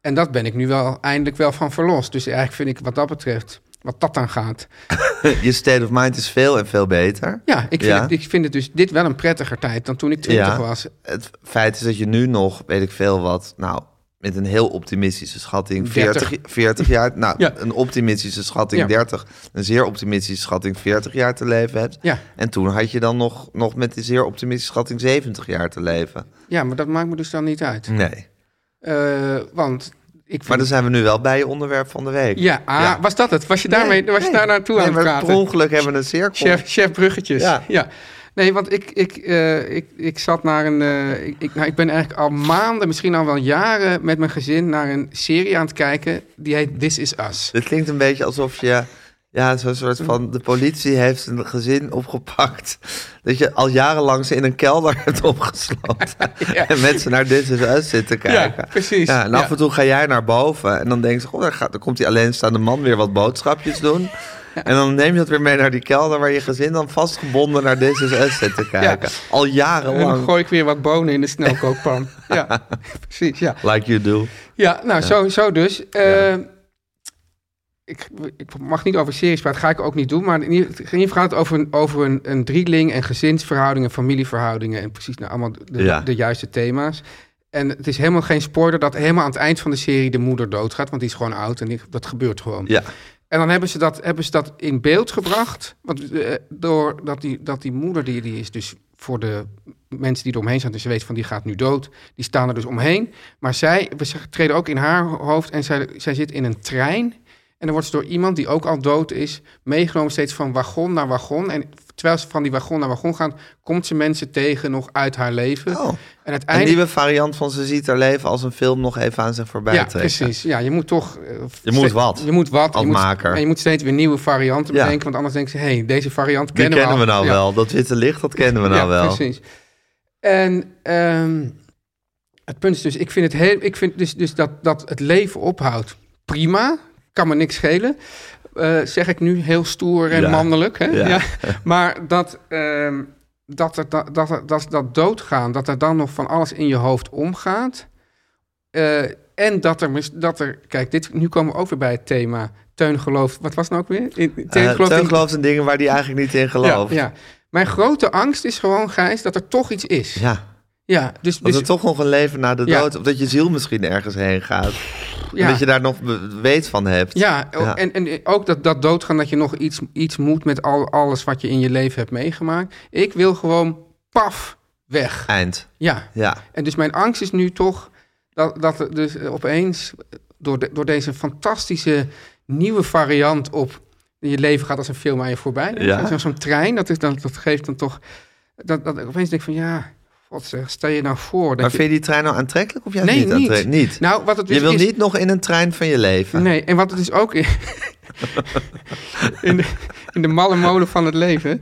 D: En dat ben ik nu wel eindelijk wel van verlost. Dus eigenlijk vind ik wat dat betreft, wat dat dan gaat.
A: Je state of mind is veel en veel beter.
D: Ja, ik vind,
A: Ja.
D: Het, ik vind het dus dit wel een prettiger tijd dan toen ik twintig
A: Ja.
D: was.
A: Het feit is dat je nu nog, weet ik veel wat, nou met een heel optimistische schatting, 40, 40 jaar, nou
D: Ja.
A: een optimistische schatting
D: Ja.
A: 30, een zeer optimistische schatting 40 jaar te leven hebt.
D: Ja.
A: En toen had je dan nog, nog met die zeer optimistische schatting 70 jaar te leven.
D: Ja, maar dat maakt me dus dan niet uit.
A: Nee.
D: Eh, want ik
A: Maar
D: vind...
A: dan zijn we nu wel bij je onderwerp van de week.
D: ja, ah,
A: Ja.
D: was dat het? Was je, daarmee, was je daar naartoe
A: Nee,
D: aan het
A: maar
D: praten?
A: Per ongeluk hebben we een cirkel.
D: Chef, chef Bruggetjes. Ja.
A: Ja.
D: Nee, want ik, ik, eh, ik, ik zat naar een. eh, ik, ik, nou, ik ben eigenlijk al maanden, misschien al wel jaren, met mijn gezin naar een serie aan het kijken. Die heet This Is Us.
A: Dit klinkt een beetje alsof je... Ja, zo'n soort van... De politie heeft een gezin opgepakt... dat je al jarenlang ze in een kelder hebt opgesloten. En mensen naar dit en uit zitten kijken.
D: precies.
A: Ja, en
D: Ja.
A: af en toe ga jij naar boven... en dan denk je... Goh, daar, gaat, daar komt die alleenstaande man weer wat boodschapjes doen... En dan neem je dat weer mee naar die kelder waar je gezin dan vastgebonden naar This Is Us zit te kijken. Al
D: En dan
A: jarenlang.
D: gooi ik weer wat bonen in de snelkookpan. ja, precies. Ja,
A: Like you do.
D: ja nou Zo, zo dus. Eh, ik, ik mag niet over series praten, dat ga ik ook niet doen. Maar in ieder in ieder geval gaat het over een, over een, een drieling en gezinsverhoudingen, familieverhoudingen. En precies nou, allemaal de,
A: Ja.
D: de juiste thema's. En het is helemaal geen spoiler dat helemaal aan het eind van de serie de moeder doodgaat. Want die is gewoon oud en die- dat gebeurt gewoon.
A: Ja.
D: En dan hebben ze dat, hebben ze dat in beeld gebracht. Want eh, door dat die, dat die moeder, die, die is dus voor de mensen die er omheen staan, dus ze weten van die gaat nu dood. Die staan er dus omheen. Maar zij, we ze treden ook in haar hoofd en zij, zij zit in een trein. En dan wordt ze door iemand die ook al dood is, meegenomen steeds van wagon naar wagon. En terwijl ze van die wagon naar wagon gaat, komt ze mensen tegen nog uit haar leven.
A: Oh.
D: En
A: Een
D: uiteindelijk...
A: nieuwe variant van ze ziet haar leven als een film nog even aan zich voorbij
D: Ja,
A: trekken.
D: precies. Ja, je moet toch... eh,
A: Je moet
D: ste-
A: wat.
D: Je moet wat.
A: Als
D: je moet,
A: maker.
D: En je moet steeds weer nieuwe varianten
A: Ja.
D: bedenken. Want anders denken ze, hé, hey, deze variant
A: Die
D: kennen,
A: kennen we
D: al.
A: nou
D: Ja.
A: wel. Dat witte licht, dat kennen we nou
D: ja,
A: wel.
D: precies. En ehm, het punt is dus, ik vind, het heel, ik vind dus, dus dat, dat het leven ophoudt prima. Kan me niks schelen. Eh, zeg ik nu heel stoer en
A: Ja.
D: mannelijk. Hè? Ja.
A: Ja.
D: Maar dat, ehm, dat, er, dat, dat, er- dat, dat doodgaan, dat er dan nog van alles in je hoofd omgaat. Eh, en dat er, mis- dat er, kijk, dit, nu komen we ook weer bij het thema. Teun gelooft, wat was het nou ook weer? In, Teun
A: Eh,
D: gelooft
A: Teun
D: in-
A: gelooft in dingen waar hij eigenlijk niet in gelooft.
D: ja, ja. Mijn grote angst is gewoon, Gijs, dat er toch iets is. Ja,
A: Ja,
D: dus,
A: dat
D: dus
A: er toch nog een leven na de
D: Ja.
A: dood... of dat je ziel misschien ergens heen gaat.
D: ja,
A: En dat je daar nog be- weet van hebt.
D: ja, o-
A: Ja.
D: En, en ook dat, dat doodgaan, dat je nog iets, iets moet met al, alles wat je in je leven hebt meegemaakt. Ik wil gewoon paf weg.
A: Eind.
D: Ja,
A: Ja.
D: en dus mijn angst is nu toch dat, dat er dus eh, opeens eh, door, de- door deze fantastische nieuwe variant op je leven gaat als een film aan je voorbij.
A: Ja.
D: Zo- Zo'n trein, dat, is dan, dat geeft dan toch... Dat, dat ik opeens denk van ja, god zeg, stel je nou voor dat
A: Maar
D: je...
A: vind je die trein nou aantrekkelijk of juist
D: Nee,
A: niet
D: niet.
A: aantrekkelijk? Niet.
D: Nou, wat het dus
A: je wil
D: is-
A: niet nog in een trein van je leven.
D: Nee, en wat het dus ook in, in, de, in de malle molen van het leven.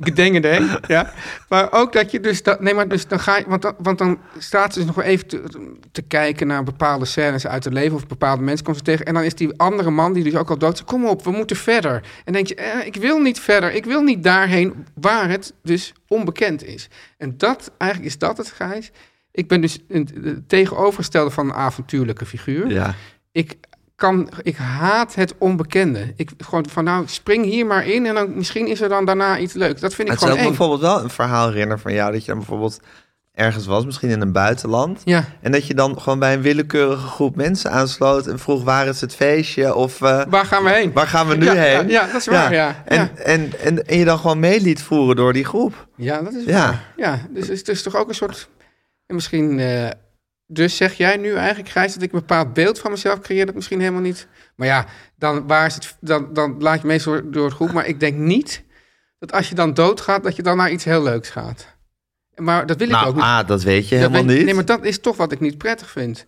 D: Gedengende, ja. Maar ook dat je dus... Dat, nee, maar dus dan ga je... Want dan, want dan staat ze dus nog wel even te, te kijken naar bepaalde scènes uit het leven... of bepaalde mensen komt ze tegen. En dan is die andere man, die dus ook al dood is... Kom op, we moeten verder. En dan denk je, eh, ik wil niet verder. Ik wil niet daarheen waar het dus onbekend is. En dat, eigenlijk is dat het, Gijs. Ik ben dus een, het tegenovergestelde van een avontuurlijke figuur
A: Ja.
D: ik kan, ik haat het onbekende. Ik gewoon van nou, spring hier maar in en dan misschien is er dan daarna iets leuks. Dat vind ik
A: Het is ook
D: gewoon eng.
A: bijvoorbeeld wel een verhaal herinner van jou dat je dan bijvoorbeeld ergens was, misschien in een buitenland.
D: Ja.
A: En dat je dan gewoon bij een willekeurige groep mensen aansloot en vroeg waar is het feestje of eh,
D: Waar gaan we heen?
A: waar gaan we nu
D: Ja,
A: heen?
D: ja, ja, dat is waar, ja.
A: En,
D: Ja.
A: En, en, en je dan gewoon mee liet voeren door die groep.
D: Ja, dat is
A: Ja.
D: waar. Ja, dus het is toch ook een soort en misschien eh, dus zeg jij nu eigenlijk Gijs dat ik een bepaald beeld van mezelf creëer dat misschien helemaal niet. Maar ja, dan waar is het dan, dan laat je meestal door het groep, maar ik denk niet dat als je dan doodgaat dat je dan naar iets heel leuks gaat. Maar dat wil ik ook
A: Nou,
D: niet.
A: ah, dat weet je
D: Dat
A: helemaal
D: weet-
A: niet.
D: Nee, maar dat is toch wat ik niet prettig vind.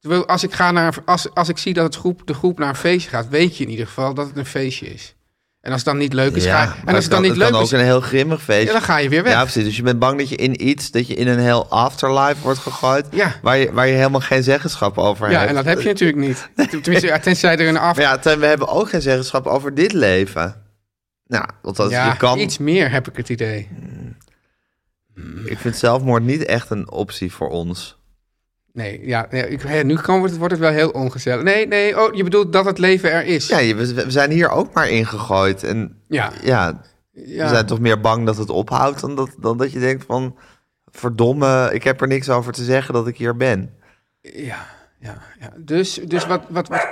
D: Terwijl Als ik, ga naar, als, als ik zie dat het groep, de groep naar een feestje gaat, weet je in ieder geval dat het een feestje is. En als het dan niet leuk is,
A: ja,
D: ga je. En
A: maar
D: als het dan
A: kan-
D: niet leuk
A: kan
D: is,
A: ook een heel grimmig feest.
D: ja, dan ga je weer weg.
A: Ja, precies. Dus je bent bang dat je in iets, dat je in een heel afterlife wordt gegooid,
D: Ja.
A: waar, je, waar je helemaal geen zeggenschap over
D: Ja,
A: hebt.
D: en dat heb je natuurlijk niet. Tenminste, ja, tenzij er een af...
A: Maar ja, Teun, we hebben ook geen zeggenschap over dit leven. Nou, want als
D: Ja,
A: je kan,
D: iets meer heb ik het idee.
A: ik vind zelfmoord niet echt een optie voor ons.
D: Nee, ja, nee, ik, hè, nu kan, wordt, het- wordt het wel heel ongezellig. Nee, nee, oh, je bedoelt dat het leven er is.
A: Ja, je- we, we zijn hier ook maar ingegooid. En
D: ja.
A: ja,
D: ja.
A: we zijn toch meer bang dat het ophoudt dan dat, dan dat je denkt van... Verdomme, ik heb er niks over te zeggen dat ik hier ben.
D: Ja, ja, ja. Dus, dus wat, wat, wat...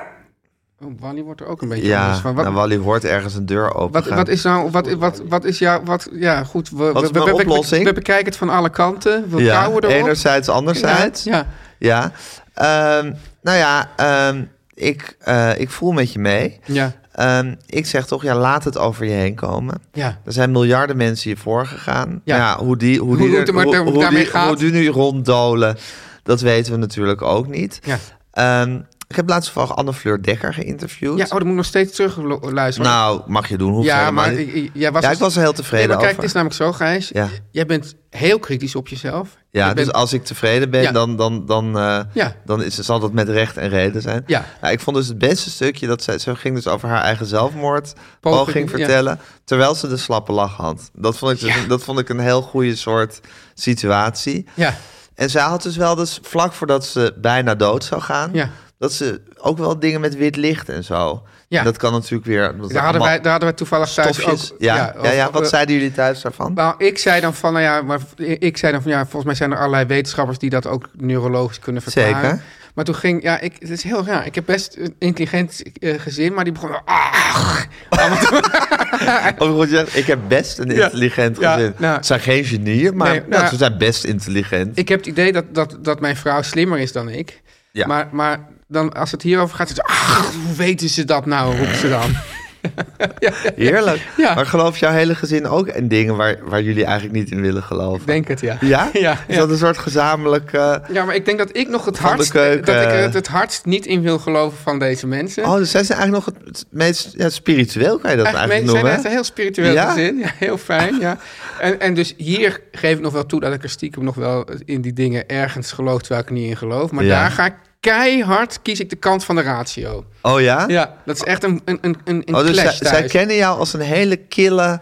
D: Oh, Wally wordt er ook een beetje
A: Ja,
D: anders dus van. Wat,
A: nou, Wally hoort ergens een deur open.
D: wat, wat is nou, wat, wat, wat is jouw, wat, ja goed, we,
A: Wat is
D: we,
A: mijn
D: we- we-
A: oplossing?
D: we bekijken het van alle kanten, we
A: ja,
D: kouwen erop.
A: enerzijds, anderzijds.
D: Ja,
A: Ja. Ehm, nou ja, ehm, ik, eh, ik voel met je mee.
D: ja,
A: Ehm, ik zeg toch, ja, laat het over je heen komen.
D: ja,
A: Er zijn miljarden mensen hiervoor gegaan.
D: Ja.
A: Ja. ja hoe die, hoe die,
D: Hoe het
A: er-
D: er maar
A: hoe,
D: daar-
A: hoe
D: daarmee
A: die,
D: gaat.
A: hoe die nu ronddolen, dat weten we natuurlijk ook niet.
D: ja.
A: Ehm, ik heb laatst toevallig Anne Fleur Dekker
D: Ja,
A: geïnterviewd.
D: oh, dat moet ik nog steeds terug lu- luisteren.
A: nou, mag je doen. Hoeft
D: ja,
A: helemaal
D: maar
A: niet.
D: ik, ik- jij was... dus-
A: ja, ik was er heel tevreden
D: Nee, maar kijk,
A: over.
D: het is nou- namelijk zo, Gijs.
A: Ja.
D: Jij bent heel kritisch op jezelf.
A: Ja,
D: Je bent-
A: dus als ik tevreden ben,
D: Ja.
A: dan, dan, dan, eh,
D: Ja.
A: dan is, zal dat met recht en reden zijn.
D: Ja.
A: Nou, ik vond dus het beste stukje dat zij, ze ging dus over haar eigen zelfmoordpoging
D: Poging, ja.
A: vertellen, terwijl ze de slappe lach had. Dat vond ik, dus
D: Ja.
A: een- dat vond ik een heel goede soort situatie.
D: Ja,
A: En zij had dus wel dus vlak voordat ze bijna dood zou gaan,
D: Ja.
A: dat ze ook wel dingen met wit licht en zo.
D: Ja.
A: En dat kan natuurlijk weer. omdat dat
D: daar hadden,
A: allemaal
D: wij, daar hadden wij toevallig thuis ook...
A: stofjes- ja. Ja,
D: of-
A: ja, wat
D: eh,
A: zeiden jullie thuis daarvan?
D: Nou, ik zei dan van, nou ja, maar ik zei dan van, ja, volgens mij zijn er allerlei wetenschappers die dat ook neurologisch kunnen verklaren.
A: Zeker.
D: Maar toen ging, ja, ik, het is heel raar. Ik heb best een intelligent eh, gezin, maar die begon, ah,
A: Oh, goed, je zegt, ik heb best een
D: Ja.
A: intelligent
D: Ja,
A: gezin.
D: nou.
A: Ze zijn geen genieën, maar
D: Nee,
A: nou,
D: nou,
A: ze zijn best intelligent.
D: ik heb het idee dat, dat, dat mijn vrouw slimmer is dan ik.
A: Ja.
D: Maar, maar dan, als het hierover gaat, is het, ah, hoe weten ze dat nou, roept ze dan.
A: Heerlijk.
D: Ja.
A: Maar gelooft jouw hele gezin ook in dingen waar, waar jullie eigenlijk niet in willen geloven?
D: Ik denk het, ja.
A: Ja?
D: Ja,
A: Is
D: ja.
A: dat een soort gezamenlijk... eh,
D: Ja, maar ik denk dat ik nog het
A: Van de
D: hardst, dat ik
A: keuken.
D: er het, het hardst niet in wil geloven van deze mensen.
A: Oh, dus zij zijn eigenlijk nog het, het meest ja, spiritueel, kan je dat eigenlijk,
D: mensen zijn
A: noemen?
D: echt een heel spiritueel
A: Ja?
D: gezin. Ja, heel fijn, ja. En, en dus hier geef ik nog wel toe dat ik er stiekem nog wel in die dingen ergens geloof, terwijl ik er niet in geloof. Maar
A: Ja.
D: daar ga ik keihard, kies ik de kant van de ratio.
A: Oh ja?
D: Ja, dat is echt een, een, een, een een
A: oh, dus
D: clash
A: zij, zij
D: thuis.
A: kennen jou als een hele kille,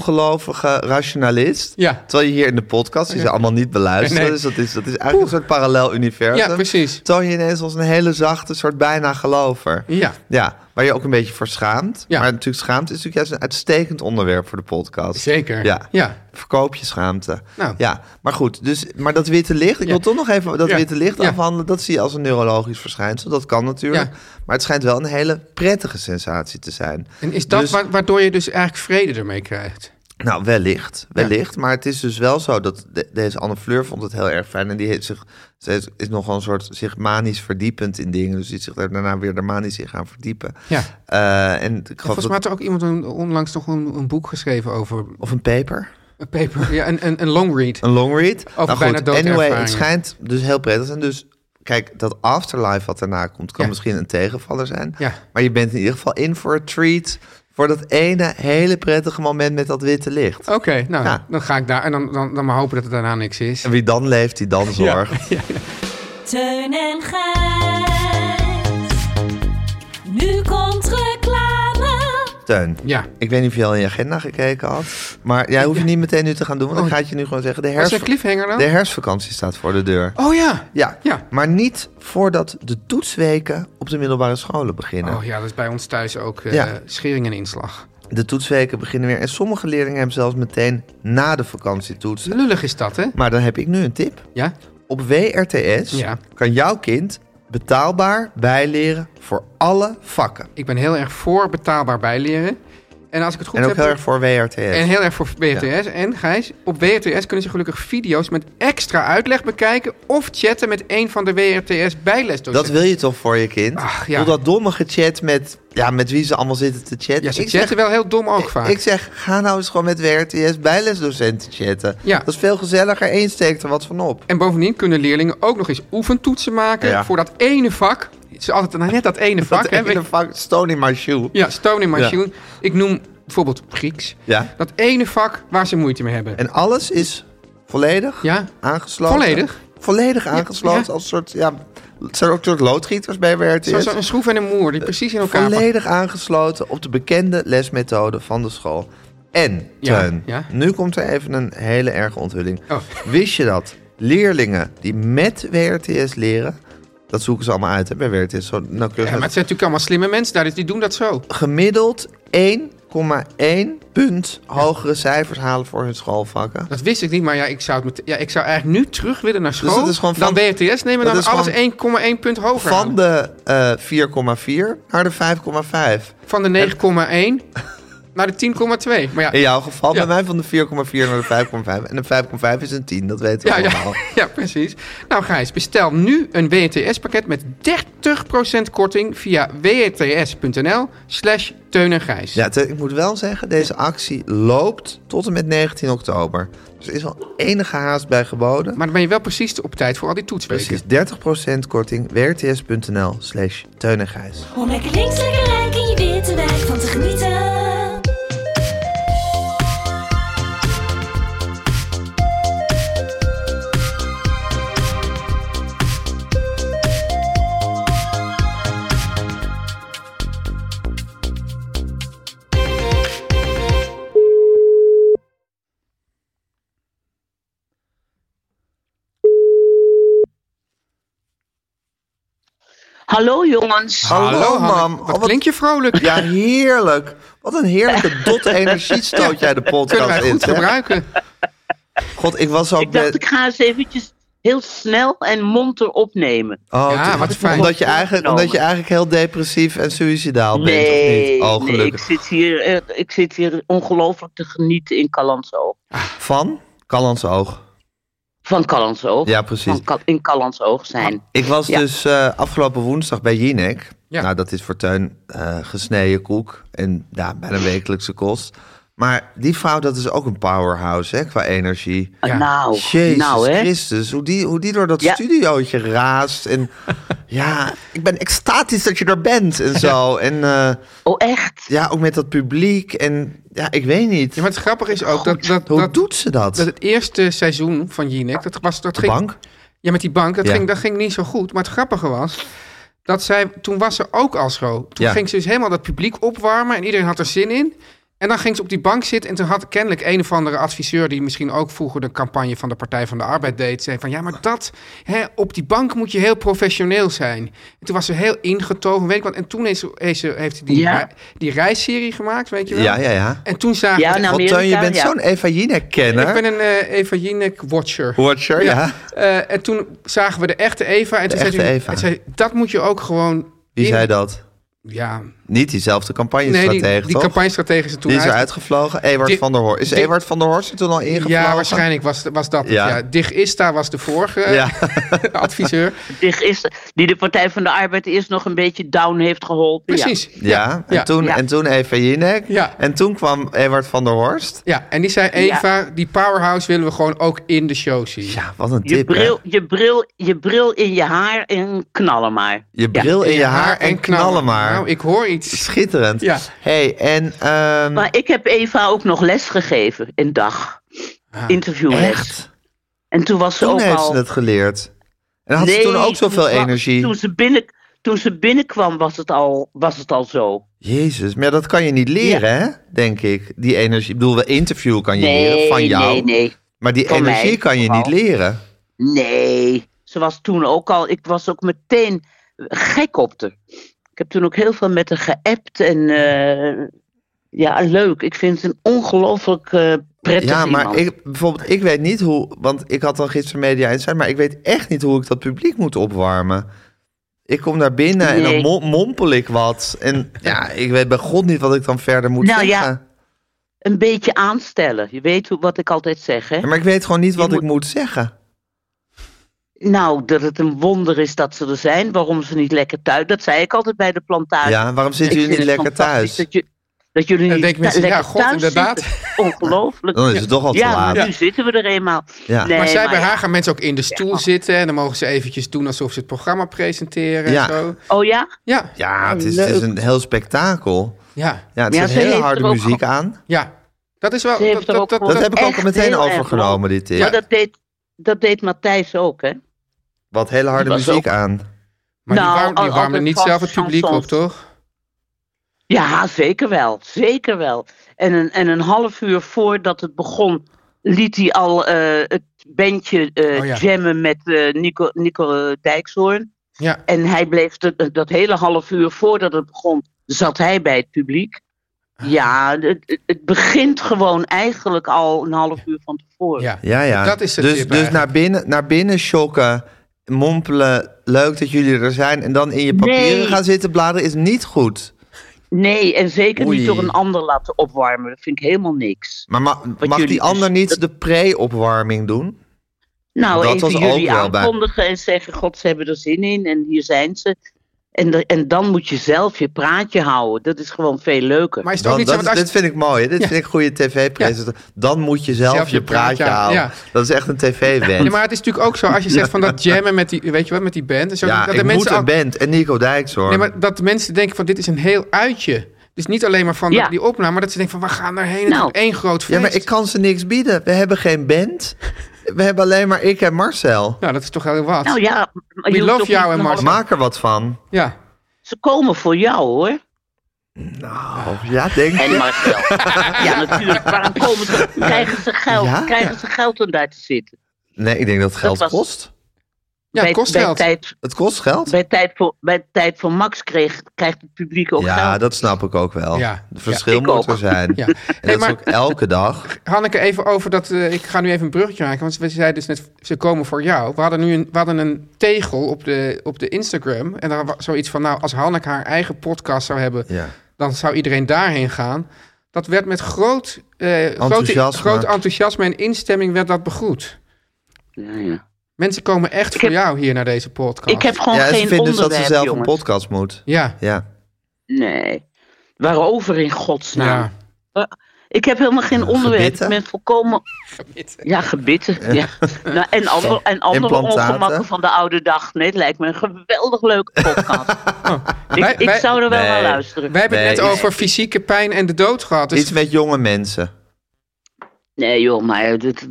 A: ongelovige rationalist.
D: Ja.
A: Terwijl je hier in de podcast, die ze allemaal niet beluisteren.
D: Nee.
A: Dus dat is, dat is eigenlijk een soort parallel universum.
D: Ja, precies.
A: Toon je ineens als een hele zachte soort bijna gelover.
D: Ja.
A: Ja, waar je ook een beetje voor schaamt.
D: Ja.
A: Maar natuurlijk schaamt is natuurlijk juist een uitstekend onderwerp voor de podcast.
D: Zeker.
A: Ja.
D: Ja.
A: Verkoop je schaamte.
D: Nou.
A: Ja, maar goed. Dus, maar dat witte licht, ik
D: Ja.
A: wil toch nog even dat
D: Ja.
A: witte licht
D: Ja.
A: afhandelen. Dat zie je als een neurologisch verschijnsel. Dat kan natuurlijk.
D: Ja.
A: Maar het schijnt wel een hele prettige sensatie te zijn.
D: En is dat
A: Dus-
D: wa- waardoor je dus eigenlijk vrede ermee krijgt?
A: Nou, wellicht. Wellicht. Maar het is dus wel zo dat de- deze Anne Fleur vond het heel erg fijn. En die heeft zich, ze is, is nogal een soort zich manisch verdiepend in dingen. Dus die is zich daar daarna weer er manisch in gaan verdiepen.
D: Ja.
A: Eh, en ik geloof
D: Volgens mij
A: dat,
D: had er ook iemand een- onlangs nog een, een boek geschreven over
A: Of een paper.
D: een paper, ja, een, een, een long read.
A: Een long read. Nou
D: bijna dood
A: anyway,
D: ervaringen.
A: het schijnt dus heel prettig. En dus, kijk, dat afterlife wat daarna komt, kan
D: Ja.
A: misschien een tegenvaller zijn.
D: Ja.
A: Maar je bent in ieder geval in voor een treat. Voor dat ene hele prettige moment met dat witte licht.
D: Oké, nou,
A: Ja.
D: dan ga ik daar. En dan, dan, dan maar hopen dat er daarna niks is.
A: En wie dan leeft, die dan zorgt.
G: Teun en Gijs. Nu komt reclame.
A: Teun,
D: Ja.
A: ik weet niet of je al in je agenda gekeken had. Maar jij hoeft het niet meteen nu te gaan doen, want ik
D: Oh.
A: ga het je nu gewoon zeggen. De,
D: Wat is
A: herfst...
D: een cliffhanger dan?
A: de herfstvakantie staat voor de deur.
D: Oh ja.
A: Ja,
D: Ja.
A: maar niet voordat de toetsweken op de middelbare scholen beginnen.
D: Oh ja, dat is bij ons thuis ook eh,
A: Ja.
D: schering en inslag.
A: De toetsweken beginnen weer en sommige leerlingen hebben zelfs meteen na de vakantie toetsen.
D: Lullig is dat, hè?
A: Maar dan heb ik nu een tip.
D: Ja?
A: Op WRTS
D: Ja.
A: kan jouw kind betaalbaar bijleren voor alle vakken.
D: Ik ben heel erg voor betaalbaar bijleren. En als ik het goed
A: en ook
D: heb...
A: heel erg voor WRTS.
D: En heel erg voor WTS. En Gijs, op WRTS kunnen ze gelukkig video's met extra uitleg bekijken... of chatten met een van de WRTS-bijlesdocenten.
A: Dat wil je toch voor je kind?
D: Ach, ja.
A: Doe dat domme gechat met, ja, met wie ze allemaal zitten te chatten.
D: Ja, ze
A: ik
D: chatten
A: zeg,
D: wel heel dom ook vaak.
A: ik zeg, ga nou eens gewoon met WRTS bijlesdocenten chatten.
D: Ja.
A: Dat is veel gezelliger. Eén steekt er wat van op.
D: En bovendien kunnen leerlingen ook nog eens oefentoetsen maken
A: Ja.
D: voor dat ene vak. Het is altijd nou, net dat ene vak.
A: dat
D: hè.
A: ene vak, stone in my shoe.
D: Ja, stone in my
A: Ja.
D: shoe. Ik noem bijvoorbeeld Grieks.
A: Ja.
D: Dat ene vak waar ze moeite mee hebben.
A: En alles is volledig
D: Ja.
A: aangesloten.
D: Volledig?
A: Volledig aangesloten.
D: ja.
A: Als soort, ja, het zijn ook soort loodgieters bij WRTS.
D: Zoals een schroef en een moer
A: Eh,
D: die precies in elkaar
A: Volledig aangesloten op de bekende lesmethode van de school. En,
D: Ja,
A: Teun,
D: ja.
A: nu komt er even een hele erge onthulling.
D: Oh.
A: Wist je dat leerlingen die met WRTS leren... Dat zoeken ze allemaal uit hè, bij WRTS. Zo nauwkeurig
D: Ja, maar het zijn natuurlijk allemaal slimme mensen daar, dus die doen dat zo.
A: Gemiddeld 1,1 punt hogere cijfers halen voor hun schoolvakken.
D: Dat wist ik niet, maar ja, ik zou, het met, ja, ik zou eigenlijk nu terug willen naar school.
A: Dus dat is gewoon
D: dan
A: van-
D: BRTS nemen en
A: dat
D: dan
A: is
D: alles
A: gewoon
D: 1,1 punt hoger.
A: Van
D: halen.
A: de eh 4,4 naar de 5,5.
D: Van de 9,1 naar de 10,2. Maar
A: In
D: ja,
A: jouw geval,
D: Ja.
A: bij mij van de 4,4 naar de 5,5. En de 5,5 is een 10, dat weten we
D: ja, ja,
A: allemaal.
D: ja, precies. Nou Gijs, bestel nu een WRTS-pakket met 30% korting via wrts.nl slash Teun en Gijs.
A: Ja, te- ik moet wel zeggen, deze actie loopt tot en met 19 oktober. Dus er is wel enige haast bij geboden.
D: Maar dan ben je wel precies op tijd voor al die toetsweken.
A: Precies, 30% korting, wrts.nl slash Teun en Gijs.
G: Om lekker links, lekker rijk in je witte wijk van te genieten.
H: Hallo jongens.
A: Hallo,
D: Hanneke.
A: mam.
D: Wat
A: Oh, wat-
D: klink je vrolijk?
A: Ja, heerlijk. Wat een heerlijke dot energie stoot jij de
D: Kunnen wij
A: podcast in.
D: goed
A: zeg.
D: gebruiken.
A: God, ik was ook
H: Ik dacht,
A: net...
H: ik ga eens eventjes heel snel en monter opnemen.
A: Oh,
D: Ja,
A: toen-
D: wat fijn.
A: Omdat je, eigenlijk, omdat je eigenlijk heel depressief en suïcidaal bent, of
H: Nee,
A: niet? Oh,
H: nee ik,
A: gelukkig.
H: zit hier, eh, ik zit hier ongelooflijk te genieten in Callandsoog.
A: Van? Callans Oog.
H: Van Callandsoog.
A: Ja, precies.
H: Van Cal- in Callandsoog zijn.
A: Ik was
H: Ja.
A: dus eh, afgelopen woensdag bij Jinek.
D: Ja.
A: Nou, dat is voor Teun eh, gesneden koek en ja, bijna wekelijkse kost. Maar die vrouw, dat is ook een powerhouse hè, qua energie.
D: Ja.
H: Nou,
A: Jezus
H: nou hè.
A: Christus, hoe die, hoe die door dat
H: Ja.
A: studiootje raast. En ja, ik ben extatisch dat je er bent en zo. En eh,
H: Oh echt.
A: ja, ook met dat publiek. En ja, ik weet niet.
D: Ja, maar het grappige is ook dat, dat,
A: Hoe
D: dat,
A: doet ze dat?
D: dat het eerste seizoen van Jinek, dat was dat
A: de
D: ging,
A: bank?
D: Ja, met die bank, dat,
A: Ja.
D: ging, dat ging niet zo goed. Maar het grappige was, dat zij, toen was ze ook al zo. Toen
A: Ja.
D: ging ze dus helemaal dat publiek opwarmen en iedereen had er zin in. En dan ging ze op die bank zitten en toen had kennelijk een of andere adviseur... die misschien ook vroeger de campagne van de Partij van de Arbeid deed... zei van, ja, maar dat, hè, op die bank moet je heel professioneel zijn. En toen was ze heel ingetogen, weet ik wat. En toen heeft ze, heeft ze- heeft ze die,
H: Ja.
D: rei- die reisserie gemaakt, weet je wel.
A: Ja, ja, ja.
D: En toen zagen
H: Ja,
D: we-
H: nou,
A: Want Teun, je
H: Amerika,
A: bent
H: ja.
A: zo'n Eva
D: Ik ben
A: Jinek-kenner.
D: een eh, Eva Jinek-watcher.
A: Watcher, ja.
D: Eh, en toen zagen we de echte Eva. En toen
A: echte
D: zei, ze-
A: Eva.
D: en zei, dat moet je ook gewoon...
A: Wie
D: in-
A: zei dat?
D: Ja,
A: Niet diezelfde
D: nee,
A: campagnestratege,
D: die, die
A: toch?
D: campagne-stratege is er toen
A: die is er
D: uit-
A: uitgevlogen. Ewart
D: Die-
A: van der Horst. Is
D: die-
A: Ewart van der Horst er toen al ingevlogen?
D: Ja, waarschijnlijk was, was dat het,
A: Ja.
D: ja. Dig Ista was de vorige
A: Ja.
D: adviseur.
H: Die, is, die de Partij van de Arbeid eerst nog een beetje down heeft geholpen.
D: Precies. Ja.
A: Ja, en,
D: Ja.
A: Toen,
H: Ja.
A: en toen Eva Jinek.
D: Ja.
A: En toen kwam Ewart van der Horst.
D: en die zei, Eva, die powerhouse willen we gewoon ook in de show zien.
A: Ja, wat een
H: Ja. Je
A: tip, hè?
H: bril, je, bril, je bril in je haar en knallen maar.
A: Je bril in je haar en knallen maar.
D: Nou, ik hoor zoiets.
A: Schitterend.
D: Ja.
A: hey, en... ehm,
H: Maar ik heb Eva ook nog les gegeven, een dag. Interviewles.
A: Ah, echt?
H: En toen was ze
A: Toen
H: ook
A: heeft
H: al...
A: ze het geleerd. En had ze
H: Nee,
A: toen ook zoveel
H: wa-
A: energie.
H: Toen ze, binnen, toen ze binnenkwam was het al, was het al zo.
A: Jezus, maar ja, dat kan je niet leren, hè? Denk ik. Die energie. Ik bedoel, we interview kan je leren van jou.
H: nee, nee.
A: Maar die
H: Van
A: energie
H: mij
A: kan je
H: vooral.
A: niet leren.
H: Nee, ze was toen ook al. Ik was ook meteen gek op haar. Ik heb toen ook heel veel met haar geappt en eh, ja, leuk. Ik vind het een ongelooflijk eh, prettig
A: Ja, maar
H: iemand.
A: ik, bijvoorbeeld, ik weet niet hoe. Want ik had dan gisteren media insight, maar ik weet echt niet hoe ik dat publiek moet opwarmen. Ik kom daar binnen en dan
H: Nee.
A: mo- mompel ik wat. En ja, ik weet bij God niet wat ik dan verder moet
H: Nou ja.
A: zeggen.
H: Een beetje aanstellen. Je weet hoe- wat ik altijd zeg, hè?
A: Ja, Maar ik weet gewoon niet wat ik moet zeggen.
H: Nou, dat het een wonder is dat ze er zijn. Waarom ze niet lekker thuis... Dat zei ik altijd bij de plantage.
A: Ja, waarom
H: Ik
A: zitten jullie
H: vind
A: niet
H: het
A: lekker
H: fantastisch
A: thuis?
H: Dat, je, dat jullie
D: Dan
H: niet
D: denken mensen,
H: thu-
D: ja,
H: lekker
D: god,
H: thuis
D: inderdaad.
H: zitten. Ongelooflijk.
A: Dan Oh, is het toch al te
H: ja,
A: laat.
H: maar nu zitten we er eenmaal.
A: Ja.
H: Nee,
D: maar zij bij
H: ja. Oh.
D: haar gaan mensen ook in de stoel zitten. En dan mogen ze eventjes doen alsof ze het programma presenteren.
A: Ja.
D: En zo.
H: Oh ja?
D: ja.
A: Ja, het is, het is een heel spektakel.
D: Ja.
A: Ja, het
H: Ja,
A: zit
H: ze heeft
A: hele
H: er
A: harde
H: ook
A: muziek aan.
D: Ja. Dat is wel...
H: Ze heeft
D: Dat,
H: er
D: dat,
H: ook
D: dat,
H: voor-
A: Dat heb ik ook
H: echt
A: meteen
H: heel erg
A: overgenomen dit jaar.
H: Maar dat deed, dat deed Matthijs ook, hè?
A: Wat hele harde
H: Die was
A: muziek aan.
D: maar die
H: Nou,
D: warm- die
H: al-
D: warmen
H: altijd
D: niet
H: van
D: zelf het publiek op,
H: chansons.
D: toch?
H: Ja, zeker wel. Zeker wel. En een, en een half uur voordat het begon, liet hij al eh, het bandje eh,
D: Oh ja.
H: jammen met eh, Nico, Nico Dijkshoorn.
D: Ja.
H: En hij bleef dat, dat hele half uur voordat het begon, zat hij bij het publiek.
A: Ah.
H: Ja, het, het- het begint gewoon eigenlijk al een half uur van tevoren.
D: Ja.
A: Ja, ja.
D: Dat is het
A: dus
D: tip
A: dus
D: eigenlijk.
A: naar, binnen, naar binnen shocken, mompelen, leuk dat jullie er zijn. En dan in je papieren
H: Nee.
A: gaan zitten bladeren is niet goed.
H: Nee, en zeker
A: Oei.
H: niet door een ander laten opwarmen. Dat vind ik helemaal niks.
A: Maar ma- mag
H: jullie
A: die
H: dus-
A: ander niet de pre-opwarming doen?
H: Nou,
A: Dat was
H: even
A: ook
H: jullie
A: wel bij-
H: aankondigen en zeggen: God, ze hebben er zin in en hier zijn ze. En, de- en dan moet je zelf je praatje houden. Dat is gewoon veel leuker.
D: Maar is het ook
A: Dan,
D: niet
A: dat
D: zo...
A: is-
D: want als
A: dit
D: je-
A: vind ik mooi. hè? Dit vind ik goede tv-presentatie. Dan moet je zelf, je praatje houden.
D: ja.
A: Dat is echt een tv-wens.
D: Ja, maar het is natuurlijk ook zo, als je zegt van dat jammen met die, weet je wat, met die band. En zo,
A: Ja,
D: dat
A: ik moet
D: mensen
A: een
D: al-
A: band. En Nico Dijkshoorn.
D: Nee, maar dat de mensen denken van dit is een heel uitje. Dus niet alleen maar van
H: Ja.
D: die opname, maar dat ze denken van we gaan daarheen. Het
H: Nou.
D: wordt één groot feest.
A: Ja, maar ik kan ze niks bieden. We hebben geen band. We hebben alleen maar ik en Marcel.
D: Nou, dat is toch heel wat.
H: nou ja, maar je
D: We
H: hoeft
D: love
H: ook
D: jou
H: niet
D: en
H: een
D: Marcel.
H: half-
A: Maak er wat van.
D: Ja.
H: Ze komen voor jou hoor.
A: Oh, ja, denk
H: En
A: je?
H: Marcel. ja, natuurlijk. Waarom komen ze? Krijgen ze geld,
A: Ja?
H: krijgen ze geld om daar te zitten?
A: Nee, ik denk dat het geld
H: was-
A: kost.
D: Ja, het
H: bij,
D: kost
H: bij
D: geld.
H: Tijd,
A: Het kost geld.
H: bij, tijd voor, bij tijd voor Max kreeg, krijgt het publiek ook
A: Ja,
H: geld.
A: dat snap ik ook wel.
D: Ja.
A: Het verschil
H: Ik
A: moet
H: ook.
A: er zijn.
D: Ja.
A: En
D: Hey,
A: dat is
D: maar-
A: ook elke dag.
D: Hanneke, even over dat. eh, ik ga nu even een bruggetje maken. Want we zeiden dus net, ze komen voor jou. We hadden nu een, we hadden een tegel op de, op de Instagram. En daar was zoiets van, nou, als Hanneke haar eigen podcast zou hebben,
A: Ja.
D: dan zou iedereen daarheen gaan. Dat werd met groot, eh,
A: Enthousiasme.
D: Groot, groot enthousiasme en instemming werd dat begroet.
H: Ja, ja.
D: Mensen komen echt voor
H: heb-
D: jou hier naar deze podcast.
H: Ik heb gewoon
A: Ja, en ze
H: geen
A: vinden
H: onderwerp,
A: dus dat ze zelf een
H: jongens.
A: podcast moet.
D: Ja,
A: Ja.
H: Nee. Waarover in godsnaam?
D: ja.
H: Ik heb helemaal geen onderwerp.
A: gebitten?
H: Ik ben volkomen... Ja, gebitten. Ja. Nou, en, ander, en andere
A: Implantaten?
H: ongemakken van de oude dag. Nee, het lijkt me een geweldig leuke podcast. ik,
D: Wij-
H: ik
D: wij-
H: zou er wel
A: Nee.
H: naar luisteren.
D: Wij hebben het
A: Nee,
D: net
A: iets-
D: over fysieke pijn en de dood gehad. Dus
A: Iets met jonge mensen.
H: Nee joh, maar dit,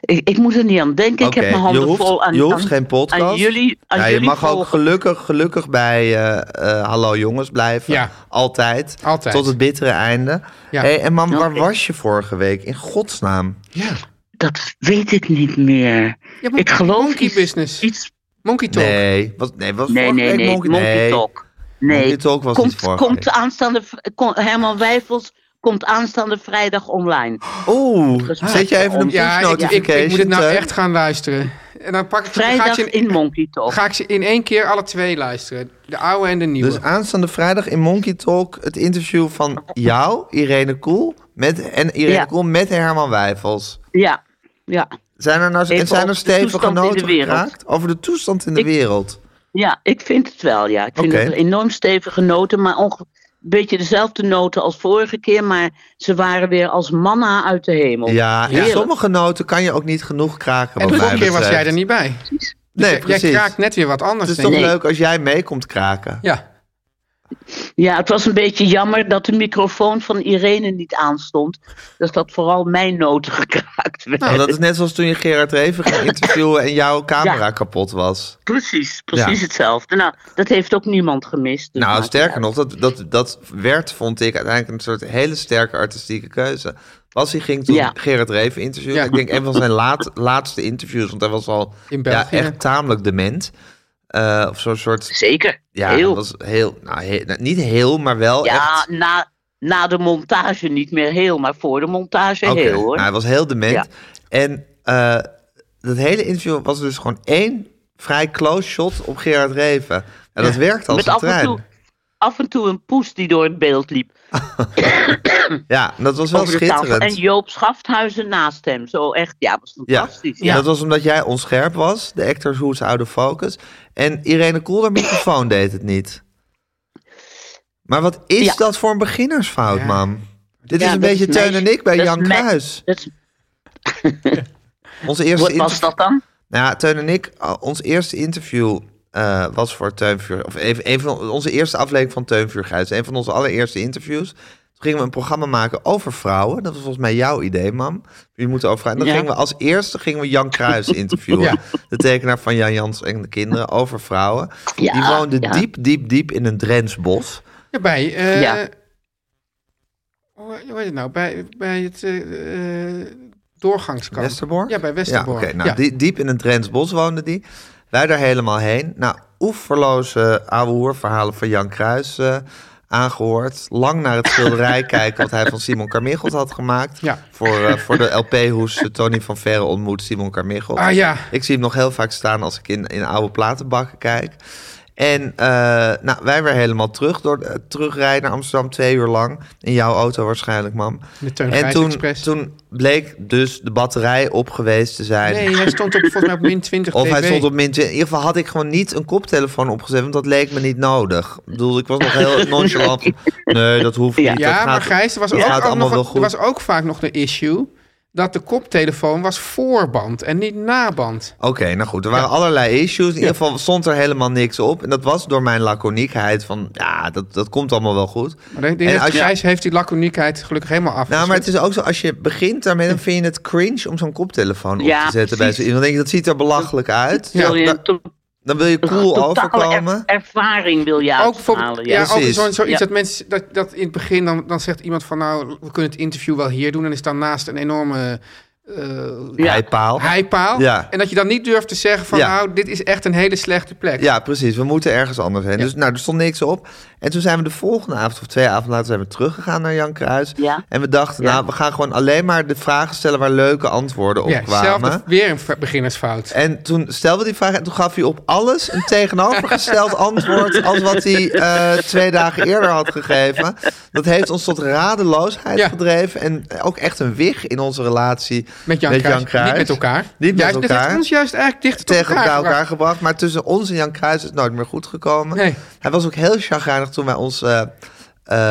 H: ik, ik moet er niet aan denken.
A: Oké,
H: Ik heb mijn
A: je
H: handen
A: hoeft,
H: vol aan,
A: je hoeft
H: aan-
A: geen podcast.
H: aan jullie. Aan
A: ja, je
H: jullie
A: mag ook
H: volgen.
A: gelukkig, gelukkig bij eh, eh, Hallo Jongens blijven.
D: Ja.
A: Altijd.
D: Altijd.
A: Tot het bittere einde.
D: Ja.
A: Hey, en mam, waar
H: Oké.
A: was je vorige week? In godsnaam.
H: Dat weet ik niet meer.
D: Ja, maar
H: ik geloof
D: monkey
H: iets-
D: business.
H: Iets...
D: Monkey Talk.
A: Nee, was, nee, was
H: Nee,
A: vorige
H: nee,
A: week
H: nee.
A: Monkey,
H: Monkey,
A: nee.
H: Talk. Nee.
A: Monkey Talk was
H: komt,
A: niet vorige
H: komt
A: week.
H: aanstaande... Kom, Herman Wijfels komt aanstaande vrijdag
A: Oh,
H: online.
A: Oeh,
H: Gesprek
A: zet je even een push
D: Ja, ik, ik,
A: notification.
D: ik moet het nou
A: Teun?
D: echt gaan luisteren. En dan pak ik ze, dan ga ik
H: Vrijdag
D: ze
H: in Monkey Talk.
D: Ga ik ze in één keer alle twee luisteren. De oude en de nieuwe.
A: Dus aanstaande vrijdag in Monkey Talk het interview van jou, Irene Koel, met, en Irene
H: Ja.
A: Koel met Herman Wijfels.
H: Ja, ja,
A: Zijn er nou en
H: Even
A: zijn
H: over
A: er
H: de
A: stevige
H: toestand in de
A: noten
H: wereld.
A: geraakt? Over de toestand in de
H: Ik-
A: wereld.
H: ja, ik vind het wel. Ja. Ik vind
A: Oké.
H: het enorm stevige noten, maar onge- een beetje dezelfde noten als vorige keer. Maar ze waren weer als manna uit de hemel.
A: Ja, en
H: Heerlijk.
A: sommige noten kan je ook niet genoeg kraken. wat
D: en de vorige
A: mij
D: keer was
A: betreft.
D: jij er niet bij. Dus
A: Nee,
D: jij
A: precies. Dus
D: kraakt net weer wat anders.
A: Het is
D: denk
A: toch
D: ik.
A: leuk als jij mee komt kraken.
D: Ja.
H: Ja, het was een beetje jammer dat de microfoon van Irene niet aanstond. Dus dat vooral mijn noten gekraakt werd.
A: Nou, dat is net zoals toen je Gerard Reven ging interviewen en jouw camera kapot was.
H: Precies, precies
A: Ja.
H: hetzelfde. Nou, dat heeft ook niemand gemist. dus
A: Nou,
H: maakt
A: sterker
H: niet
A: nog, dat, dat, dat werd, vond ik, uiteindelijk een soort hele sterke artistieke keuze. Was hij ging toen
H: Ja.
A: Gerard Reven interviewen.
D: Ja.
A: Ik denk een van zijn laat, laatste interviews, want hij was al
D: In
A: ja,
D: België.
A: echt tamelijk dement. Eh, of zo'n soort.
H: uit. Zeker,
A: Ja,
H: heel.
A: dat was heel. Nou, he- nou, niet heel, maar wel
H: ja,
A: echt.
H: na, na de montage niet meer heel, maar voor de montage
A: Oké,
H: heel hoor.
A: nou, hij was heel dement.
H: Ja.
A: En eh, dat hele interview was dus gewoon één vrij close shot op Gerard Reven. En dat werkte als
H: Met
A: een
H: af en,
A: trein.
H: toe, af en toe een poes die door het beeld liep.
A: Ja, dat was wel
H: over de tafel.
A: schitterend.
H: En Joop Schafthuizen naast hem. Zo echt, ja, dat was
A: Ja.
H: fantastisch.
A: ja, dat was omdat jij onscherp was. De actors who's out of focus. En Irene Koolder microfoon deed het niet. Maar wat is
H: Ja.
A: dat voor een beginnersfout,
D: Ja.
A: mam? Dit
H: Ja,
A: is een
H: dat
A: beetje
H: is
A: Teun
H: mijn-
A: en ik bij
H: dat is
A: Jan
H: mijn-
A: Kruis.
H: Dat is-
A: Onze eerste
H: wat was
A: interview-
H: dat dan?
A: Nou, ja, Teun en ik, a- ons eerste interview eh, was voor Teunvuur. Of even, een van onze eerste aflevering van Teunvuurgrijs. Een van onze allereerste interviews. Toen gingen we een programma maken over vrouwen. Dat was volgens mij jouw idee, mam. Je moet over vrouwen. En dan
H: Ja.
A: gingen we als eerste gingen we Jan Kruis interviewen.
D: Ja.
A: De tekenaar van Jan Jans en de kinderen over vrouwen.
H: Ja,
A: Die woonde
H: ja.
A: diep, diep, diep in een Drensbos.
D: Ja, bij... eh,
H: Ja.
D: Hoe hoe heet het nou? Bij, bij het eh eh, doorgangskamp.
A: Westerbork?
D: Ja, bij
A: Ja,
D: Westerbork.
A: oké. nou,
D: Ja.
A: die- diep in een Drents bos woonde die. Wij daar helemaal heen. Nou, oeverloze ouwe hoerverhalen van Jan Kruis eh, aangehoord. Lang naar het schilderij kijken wat hij van Simon Carmichelt had gemaakt.
D: Ja.
A: Voor, eh, voor de LP-hoes eh, Tony van Verre ontmoet Simon Carmichelt.
D: Ah ja.
A: Ik zie hem nog heel vaak staan als ik in, in oude platenbakken kijk. En eh, nou, wij weer helemaal terug, door, eh, terugrijden naar Amsterdam twee uur lang. In jouw auto waarschijnlijk, mam.
D: De Teun
A: en
D: Gijs
A: toen,
D: Express.
A: toen bleek dus de batterij op geweest te zijn.
D: Nee, hij stond op, volgens mij op min 20
A: Of
D: dB.
A: hij stond op min 20. In ieder geval had ik gewoon niet een koptelefoon opgezet, want dat leek me niet nodig. Ik bedoel, ik was nog heel nonchalant. van, Nee, dat hoeft niet. dat
D: Ja,
A: gaat-
D: maar Gijs, er was,
A: dat
D: ook,
A: gaat
D: ook
A: allemaal
D: nog,
A: wel
D: een- er
A: goed.
D: was ook vaak nog de issue... dat de koptelefoon was voorband en niet naband.
A: Oké, nou goed, er waren allerlei issues. In ieder geval stond er helemaal niks op. En dat was door mijn laconiekheid van, ja, dat, dat komt allemaal wel goed.
D: Maar de, de
A: En
D: heeft-
A: als je-
D: Gijs heeft die laconiekheid gelukkig helemaal af.
A: Nou, maar het is ook zo, als je begint daarmee, dan vind je het cringe om zo'n koptelefoon op
H: Ja,
A: te zetten bij
H: precies.
A: zo iemand. Dan denk je, dat ziet er belachelijk uit.
H: Wil je
A: dan,
H: een to-
A: dan wil je cool
H: totale
A: overkomen.
H: er- ervaring wil je
D: ook voor,
H: uithalen.
D: ja,
H: Ja. dus
D: ook
A: Precies.
D: zo- zoiets
H: Ja.
D: dat mensen dat, dat in het begin dan, dan zegt iemand van nou we kunnen het interview wel hier doen en is dan naast een enorme
H: Ja.
A: Heipaal.
D: heipaal
A: Oh. Ja.
D: en dat je dan niet durft te zeggen van
A: Ja.
D: nou dit is echt een hele slechte plek.
A: Ja, precies. We moeten ergens anders heen. Dus nou, er stond niks op. En toen zijn we de volgende avond of twee avonden later zijn we teruggegaan naar Jan Kruis.
H: Ja.
A: En we dachten,
H: Ja.
A: nou, we gaan gewoon alleen maar de vragen stellen waar leuke antwoorden op
D: Ja,
A: kwamen.
D: zelfde, weer een v- beginnersfout.
A: En toen stelden we die vraag en toen gaf hij op alles een tegenovergesteld antwoord als wat hij eh, twee dagen eerder had gegeven. Dat heeft ons tot radeloosheid
D: Ja.
A: gedreven en ook echt een wig in onze relatie
D: Met Jan, Kruijs. Niet met elkaar.
A: Niet
D: Juist,
A: met
D: Dat
A: elkaar.
D: heeft ons juist eigenlijk dichter tot
A: tegen
D: elkaar,
A: elkaar,
D: gebracht.
A: gebracht. Maar tussen ons en Jan Kruis is het nooit meer goed gekomen.
D: Nee.
A: Hij was ook heel chagrijnig toen wij ons, eh, eh,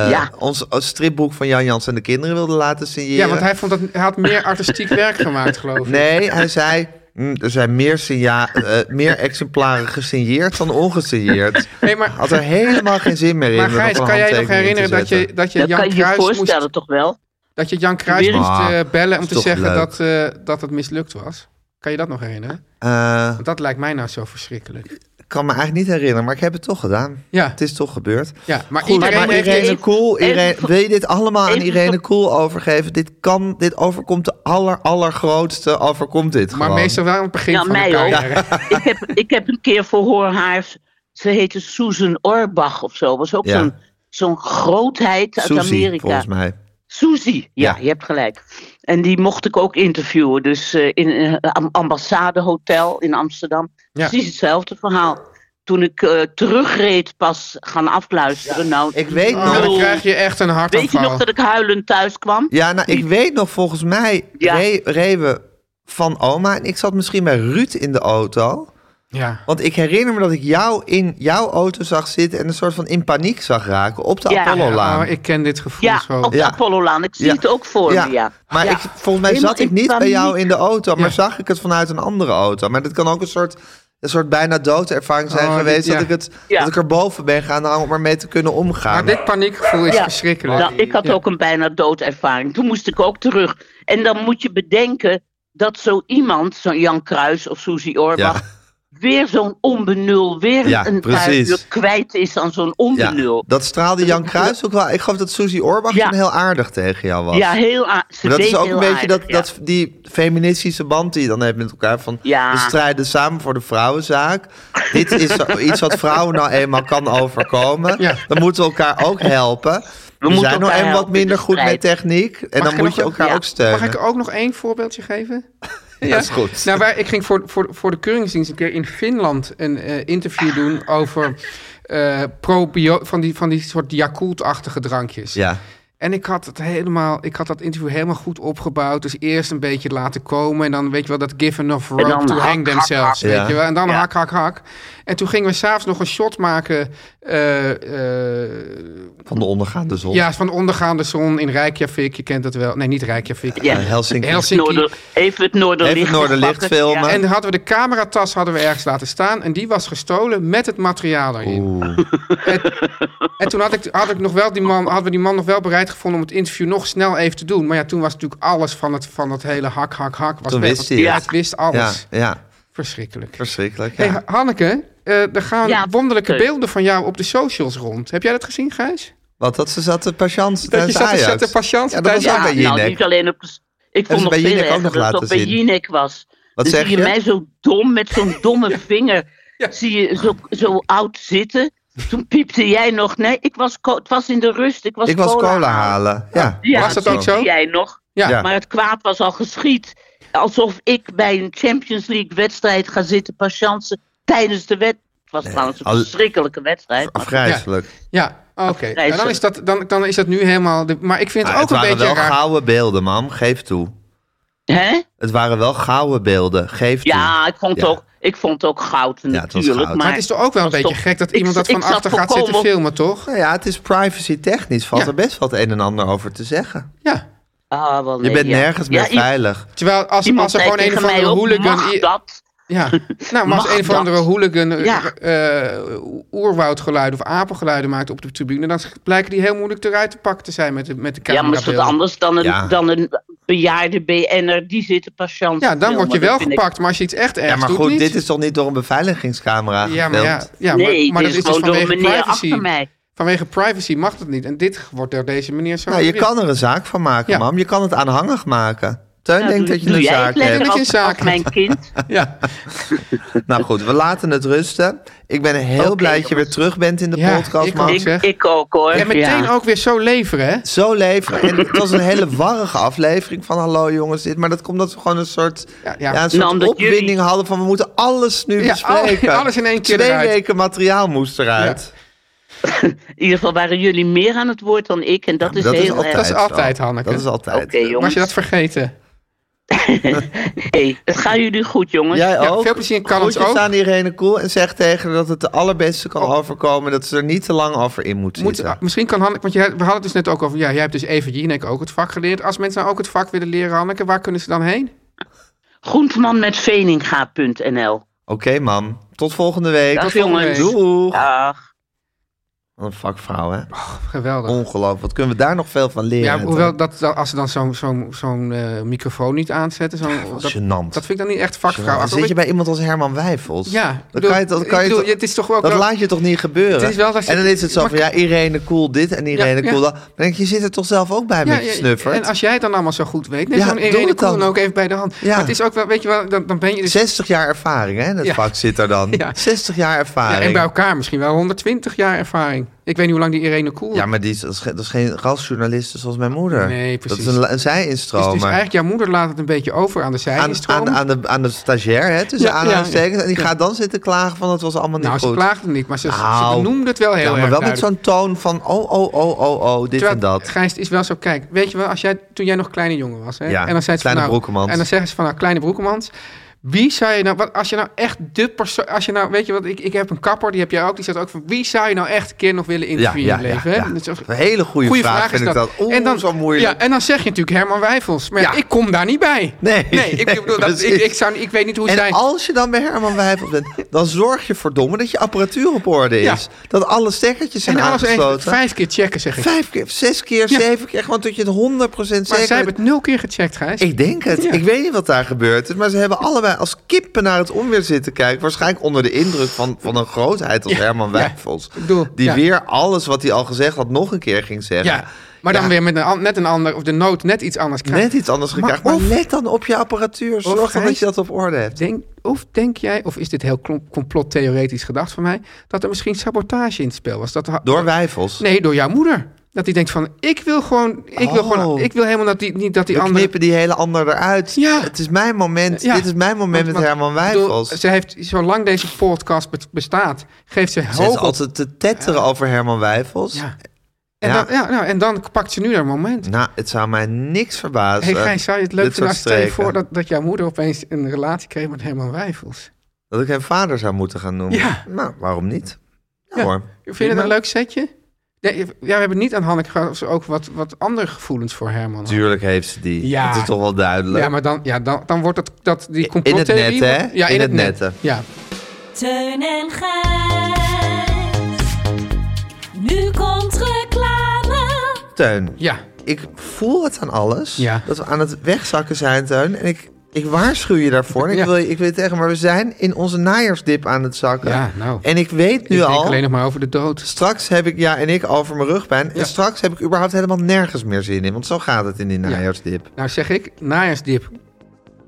H: Ja.
A: ons stripboek van Jan Jans en de kinderen wilden laten signeren.
D: Ja, want hij, vond dat, hij had meer artistiek werk gemaakt, geloof ik.
A: Nee, hij zei... "Hm, er zijn meer, signa- eh, meer exemplaren gesigneerd dan ongesigneerd.
D: Nee, maar-
A: Had er helemaal geen zin meer in.
D: Maar
A: om er
D: Gijs,
A: nog een
D: kan jij je nog
A: handtekening in te
D: herinneren dat
A: zetten.
D: je, dat je
H: Dat
D: Jan
H: kan je je
D: Kruijs
H: voorstellen
D: moest,
H: toch wel?
D: dat je Jan Kruijs
H: Weer
D: moest
A: eens?
D: eh, bellen
A: Ah,
D: om
A: is
D: te
A: toch
D: zeggen
A: leuk.
D: dat, eh, dat het mislukt was? Kan je dat nog herinneren?
A: Eh,
D: Want dat lijkt mij nou zo verschrikkelijk.
A: ik kan me eigenlijk niet herinneren, maar ik heb het toch gedaan.
D: Ja,
A: Het is toch gebeurd.
D: ja maar
A: Goed,
D: iedereen
A: maar
D: heeft...
A: Irene
H: even-
A: Cool,
H: even
A: Irene,
H: ge-
A: wil je dit allemaal aan
H: even
A: Irene
H: ge-
A: Cool overgeven? Dit kan, dit overkomt de aller, allergrootste, overkomt dit
D: Maar
A: gewoon.
D: meestal wel aan het begin
H: Ja,
D: van
H: mij
D: de
H: ook.
D: carrière.
H: ik, heb, ik heb een keer verhoor haar. Ze heette Susan Orbach of zo. Was ook
A: Ja.
H: zo'n, zo'n grootheid uit
A: Susie,
H: Amerika.
A: volgens mij.
H: Susie, ja,
A: Ja.
H: je hebt gelijk. En die mocht ik ook interviewen. Dus eh, in een am- ambassadehotel in Amsterdam.
D: Ja.
H: Precies hetzelfde verhaal. Toen ik eh, terugreed pas gaan afluisteren. Nou,
A: Ik weet
D: Oh, dan
A: nog...
D: krijg je echt een
H: weet je
D: hartaanval.
H: nog dat ik huilend thuis kwam?
A: Ja, nou, ik weet nog, volgens mij
H: Ja.
A: re- reden we van oma. En ik zat misschien bij Ruud in de auto.
D: Ja.
A: Want ik herinner me dat ik jou in jouw auto zag zitten... en een soort van in paniek zag raken op de
H: Ja.
A: Apollo-laan.
D: Oh, ik ken dit gevoel
H: Ja,
D: zo.
H: op de
A: Ja.
H: Apollo-laan. Ik zie
A: Ja.
H: het ook voor me, ja.
A: Maar
H: Ja.
A: ik, volgens mij
H: Helemaal
A: zat ik
H: in
A: niet bij jou
H: paniek.
A: in de auto, maar
D: Ja.
A: zag ik het vanuit een andere auto. Maar dat kan ook een soort een soort bijna dode ervaring zijn
D: Oh, dit-
A: geweest.
D: ja.
A: Dat, ik het,
H: Ja.
A: dat ik er boven ben gaan hangen om ermee te kunnen omgaan.
D: Maar dit paniekgevoel is
H: Ja.
D: verschrikkelijk.
H: Nou, ik had
D: Ja.
H: ook een bijna doodervaring. Toen moest ik ook terug. En dan moet je bedenken dat zo iemand, zo'n Jan Kruis of Suzy Orbach,
A: ja.
H: weer zo'n onbenul, weer
A: Ja,
H: een paar
A: precies.
H: uur kwijt is aan zo'n
A: ja,
H: onbenul.
A: dat straalde Jan Kruis ook wel. Ik geloof dat Suzy Orbach
H: Ja.
A: toen heel aardig tegen jou was.
H: Ja, heel a- ze
A: Maar dat is
H: deed
A: ook
H: heel
A: een beetje
H: aardig,
A: dat,
H: ja.
A: dat, die feministische band die je dan hebt met elkaar. Van
H: Ja.
A: we strijden samen voor de vrouwenzaak. Dit is zo- iets wat vrouwen nou eenmaal kan overkomen.
D: Ja.
A: Dan moeten we elkaar ook helpen. We,
H: moeten
A: zijn nou
H: elkaar
A: eenmaal wat
H: helpen in
A: minder
H: de
A: goed met
H: strijd.
A: techniek. En
D: Mag
A: dan
D: ik
A: moet
D: nog
A: je
D: een-
A: elkaar
H: ja.
A: ook steunen.
D: Mag ik ook nog één voorbeeltje geven?
A: Ja, is goed.
D: Nou, waar, ik ging voor, voor, voor de Keuringsdienst een keer in Finland een eh, interview doen over eh probio van, die, van die soort Yakult-achtige drankjes.
A: ja.
D: En ik had, het helemaal, ik had dat interview helemaal goed opgebouwd. Dus eerst een beetje laten komen. En dan weet je wel dat give enough rope
H: dan
D: to
H: hak,
D: hang
H: hak,
D: themselves.
A: hak.
D: weet
A: Ja.
D: je wel. En dan
H: Ja.
D: hak, hak, hak. En toen gingen we s'avonds nog een shot maken. eh, eh,
A: Van de ondergaande zon.
D: ja, van ondergaande zon in Reykjavik. Je kent dat wel. Nee, niet Reykjavik.
H: Ja.
A: Eh, Helsinki.
D: Helsinki.
H: Noorder- even het
A: Even
H: Noorderlicht,
A: het Noorderlicht
H: pakken.
A: filmen.
H: Ja.
D: En hadden we de cameratas hadden we ergens laten staan. En die was gestolen met het materiaal erin.
A: Oeh.
D: En toen had ik, had ik nog wel die man, hadden we die man nog wel bereid gevonden om het interview nog snel even te doen. Maar ja, toen was natuurlijk alles van het, van het hele hak, hak, hak. Was
A: Toen
D: weg.
A: wist hij het.
D: Ja, het wist
A: Ja,
D: alles.
A: ja,
D: Verschrikkelijk.
A: verschrikkelijk. Ja.
D: Hey, Hanneke, eh, er gaan
H: Ja,
D: wonderlijke
H: leuk.
D: beelden van jou op de socials rond. Heb jij dat gezien, Gijs?
A: Want dat ze zat te patiënt
D: Dat je
A: tijdens
D: zat te
A: Ajax.
D: zetten patiënten
A: Ja, dat was
D: tijdens
A: ook bij
H: nou,
A: Jinek.
H: niet alleen op... de- Ik
A: ze
H: vond nog
A: bij
H: veel
A: Jinek ook
H: erger
A: nog
H: dat het
A: laten
H: ook bij
A: zien.
H: Jinek was.
A: Wat
H: Dan
A: zeg je?
H: zie je mij zo dom met zo'n domme vinger. Zie je zo, zo oud zitten. Toen piepte jij nog. Nee, ik was co- het was in de rust. Ik was,
A: Ik was cola,
H: aan.
A: halen. Ja.
H: Ja,
D: Was dat ook
H: piepte
D: zo?
H: jij nog.
D: Ja.
A: Ja.
H: Maar het kwaad was al geschied. Alsof ik bij een Champions League wedstrijd ga zitten patiënten tijdens de wedstrijd. Het was trouwens een
A: al-
H: verschrikkelijke wedstrijd. maar-
A: Afgrijzelijk.
D: Ja, oké. Nou, dan, is dat, dan, dan is dat nu helemaal... de- maar ik vind het
A: Maar
D: ook
A: Ah, Nou, het
D: een
A: waren
D: beetje
A: wel
D: raar.
A: gouden beelden, mam. Geef toe.
H: Hè?
A: Het waren wel gouden beelden. Geef toe.
H: Ja, ik vond, het
A: Ja.
H: Ook, ik vond het ook goud
A: het was
H: natuurlijk.
A: goud.
H: Maar,
D: Maar het is toch ook wel een
H: was
D: beetje
H: toch-
D: gek dat
H: ik-
D: iemand dat
H: ik
D: van
H: zat
D: achter gaat
H: volkomen
D: zitten
H: op-
D: filmen, toch?
A: Nou ja, het is privacy technisch. Valt
D: Ja.
A: er best wel het een en ander over te zeggen.
D: Ja.
H: Ah, wel
A: Je
H: nee,
A: bent
H: ja.
A: nergens
H: Ja,
A: meer
H: i-
A: veilig.
D: Terwijl als,
H: Iemand
D: als er
H: zei
D: gewoon een
H: tegen
D: van
H: mij
D: de
H: ook,
D: hooligan...
H: mag
D: i-
H: dat?
D: Ja, nou, maar als
H: Mag
D: een of andere
H: dat?
D: hooligan eh,
H: Ja.
D: eh, oerwoudgeluiden of apengeluiden maakt op de tribune, dan blijken die heel moeilijk eruit te pakken te zijn met de, met de
H: Ja, maar is dat
D: camerabeelden.
H: anders dan een,
A: Ja.
H: dan een bejaarde BN'er die zit te patiënt
D: Ja, dan word je wel
H: gepakt.
D: gepakt, maar als je iets echt ergs
A: Ja, maar
D: doet,
A: goed,
D: niet.
A: dit is toch niet door een beveiligingscamera
D: ja, maar, ja,
A: gefilmd?
D: ja, maar,
H: nee,
D: maar
H: dit
D: dat
H: is
D: is dus
H: gewoon door een
D: vanwege
H: meneer achter
D: privacy.
H: mij.
D: Vanwege privacy mag dat niet. En dit wordt door deze meneer zo.
A: Nou, je
D: geregeld.
A: kan er een zaak van maken,
D: Ja.
A: mam. Je kan het aanhangig maken. Teun
H: Nou,
A: denkt
H: doe-
A: dat je
H: doe
A: een
H: jij
A: zaak
H: het lekker
A: hebt.
D: Dat je
H: als-
D: een zaak
H: als mijn kind.
D: Ja.
A: Nou goed, we laten het rusten. Ik ben heel
H: Oké,
A: blij dat je weer
H: jongens.
A: terug bent in de
D: Ja,
A: podcast,
D: ik
A: mam.
D: ook.
H: ik,
D: zeg.
H: ik ook hoor.
D: En meteen
H: ja.
D: ook weer zo leveren, hè?
A: Zo leveren. En het was een hele warrige aflevering van Hallo jongens dit. Maar dat komt omdat we gewoon een soort,
D: Ja,
A: ja,
D: ja.
A: een soort
H: Nou, omdat
A: opwinding
H: jullie-
A: hadden van we moeten alles nu
D: Ja,
A: bespreken.
D: al- alles in één keer
A: Twee
D: eruit.
A: weken materiaal moest eruit.
H: In ieder geval waren jullie meer aan het woord dan ik. En dat is
A: dat, is
H: heel
A: altijd
H: erg.
D: Dat is altijd,
A: zo.
D: Hanneke.
A: Dat is
H: Oké
A: altijd.
H: jongens.
D: Was je dat vergeten?
H: Hey, het gaat jullie goed jongens.
A: Jij
D: Ja,
A: ook.
D: veel plezier in Callens
A: Groetjes
D: ook.
A: aan Irene Koel en zeg tegen haar dat het de allerbeste kan overkomen. Dat ze er niet te lang over in moet
D: Moet,
A: zitten.
D: ah, misschien kan Hanneke, want jij, we hadden het dus net ook over, ja, jij hebt dus even Jinek ook het vak geleerd. Als mensen nou ook het vak willen leren, Hanneke, waar kunnen ze dan heen?
H: Groenteman met Veninga.nl.
A: Oké mam, tot volgende week.
H: Dag
D: tot volgende
H: jongens.
D: week.
A: Doeg.
H: Dag.
A: Wat een vakvrouw hè.
D: Geweldig.
A: Ongelooflijk. Wat kunnen we daar nog veel van leren.
D: ja,
A: hè,
D: hoewel
A: Teun?
D: dat, dat- als ze dan zo'n zo'n zo'n eh, microfoon niet aanzetten, zo'n
A: Wat
D: dat,
A: gênant.
D: dat vind ik dan niet echt
A: Jongen, dan
D: vakvrouw.
A: zit je bij iemand als Herman Wijfels.
D: Ja, ik
A: dan
D: bedoel,
A: kan je, dan kan
D: ik
A: je
D: bedoel,
A: toch-
D: het is toch ook
A: dat
D: wel-
A: laat je toch niet gebeuren.
D: Het is wel dat je-
A: en dan is het zo
D: maar-
A: van ja, Irene Cool dit en Irene
D: Ja, ja.
A: Cool dat. Dan denk ik, je zit er toch zelf ook bij
D: Ja,
A: met je
D: ja,
A: snuffert.
D: en als jij het dan allemaal zo goed weet, neem
A: Ja,
D: zo'n
A: doe
D: Irene
A: het dan.
D: Koen ook even bij de hand.
A: Ja.
D: Maar het is ook wel, weet je wel, dan, dan ben je dus...
A: 60 jaar ervaring hè, in het
D: Ja.
A: vak zit er dan.
D: Ja.
A: 60 jaar
D: Ja,
A: ervaring.
D: en bij elkaar misschien wel 120 jaar ervaring. Ik weet niet hoe lang die Irene Koel
A: Ja, maar die is, dat is geen- dat is geen rasjournaliste zoals mijn moeder.
D: Nee, precies.
A: Dat is een, een
D: is.
A: zij-instromer.
D: Dus eigenlijk, jouw moeder laat het een beetje over aan de
A: aan,
D: zijstroom.
A: aan, aan, de, aan de stagiair, hè, tussen
D: Ja, ja,
A: aanhalingstekens. En die
D: ja.
A: gaat dan zitten klagen van het was allemaal niet
D: Nou, ze
A: goed.
D: klaagde het niet, maar ze, ze
A: Nou.
D: benoemde het wel heel
A: ja, maar
D: erg
A: wel met
D: duidelijk.
A: zo'n toon van oh, oh, oh, oh, oh, dit en
D: Terwijl,
A: dat.
D: Gijs, het is wel zo, kijk, weet je wel, als jij, toen jij nog kleine jongen was, hè,
A: Ja,
D: en dan zei ze
A: kleine
D: van, nou,
A: broekenmans.
D: En dan zeggen ze van, nou, kleine broekemans, Wie zou je nou, wat, als je nou echt de persoon, als je nou, weet je wat, ik, ik heb een kapper, die heb jij ook, die zegt ook van wie zou je nou echt een keer nog willen interviewen
A: Ja,
D: in
A: ja, ja,
D: je leven? hè?
A: ja.
D: Dat is ook-
A: Een hele goede
D: Goeie
A: vraag vind ik dat. Oeh, zo moeilijk.
D: Ja, en dan zeg je natuurlijk Herman Wijfels, maar ja,
A: Ja.
D: ik kom daar niet bij.
A: Nee,
D: nee ik,
A: nee,
D: bedoel, dat, ik,
A: precies.
D: ik, zou, ik weet niet hoe
A: En
D: zij...
A: als je dan bij Herman Wijfels bent, dan zorg je verdomme dat je apparatuur op orde
D: Ja.
A: is. Dat alle stekkertjes zijn
D: en alles even
A: aangesloten.
D: vijf keer checken, zeg ik.
A: Vijf keer, zes keer,
D: Ja.
A: zeven keer. Gewoon tot je het 100% zeker
D: maar zij
A: bent.
D: hebben het nul keer gecheckt, Gijs.
A: Ik denk het.
D: Ja.
A: Ik weet niet wat daar gebeurd is. Maar ze hebben allebei als kippen naar het onweer zitten kijken. Waarschijnlijk onder de indruk van, van een grootheid als Herman
D: ja.
A: Wijfels.
D: Ik bedoel,
A: die
D: ja.
A: weer alles wat hij al gezegd had nog een keer ging zeggen.
D: ja, maar dan
A: Ja.
D: weer met een, an- net een ander, of de nood net iets anders krijgt.
A: Net iets anders
D: Maar
A: gekregen. Maar,
D: of-
A: let dan op je apparatuur. Zorg dan dat
D: Gijs-
A: je dat op orde hebt.
D: Denk, of denk jij, of is dit heel klom- complottheoretisch gedacht van mij, dat er misschien sabotage in het spel was? Dat er-
A: Door Wijfels.
D: Nee, door jouw moeder. Dat die denkt van, ik wil gewoon, ik wil
A: Oh.
D: gewoon, ik wil helemaal dat die, niet dat die
A: We
D: andere...
A: knippen die hele ander eruit.
D: Ja.
A: Het is mijn moment.
D: Ja.
A: Dit is mijn moment
D: Want-
A: met
D: want-
A: Herman
D: ik bedoel,
A: Wijfels.
D: Ze heeft, zolang deze podcast be- bestaat, geeft ze
A: Ze is
D: hoog op.
A: altijd te tetteren over Herman Wijfels.
D: Ja. En,
A: Ja.
D: Dan, ja, nou, en dan pakt ze nu haar moment.
A: Nou, het zou mij niks verbazen.
D: hey Gijs, zou je het leuk
A: dit
D: vinden als
A: soort
D: stel je
A: streken.
D: voor dat, dat jouw moeder opeens een relatie kreeg met Herman Wijfels?
A: Dat ik hem vader zou moeten gaan noemen.
D: Ja.
A: Nou, waarom niet? Ja,
D: Ja.
A: hoor.
D: Vind je dat een leuk setje? Nee, ja, we hebben niet aan Hanneke gehad of ze ook wat, wat andere gevoelens voor Herman had.
A: Tuurlijk heeft ze die.
D: Ja.
A: Dat is toch wel duidelijk.
D: Ja, maar dan, ja, dan, dan wordt dat, dat die
A: In- in het
D: complottheorie...
A: net, hè?
D: Ja, in, het, net.
A: hè.
D: Ja.
G: Teun en Gijs. Nu komt reclame.
A: Teun,
D: ja,
A: ik voel het aan alles.
D: Ja.
A: Dat we aan het wegzakken zijn, Teun. En ik, ik waarschuw je daarvoor. En ik,
D: Ja.
A: wil, je- ik wil je tegen, maar we zijn in onze najaarsdip aan het zakken.
D: Ja, nou.
A: En ik weet nu
D: ik denk
A: al...
D: alleen nog maar over de dood.
A: Straks heb ik, ja, en ik over mijn rugpijn.
D: Ja.
A: En straks heb ik überhaupt helemaal nergens meer zin in. Want zo gaat het in die najaarsdip.
D: Nou zeg ik, najaarsdip,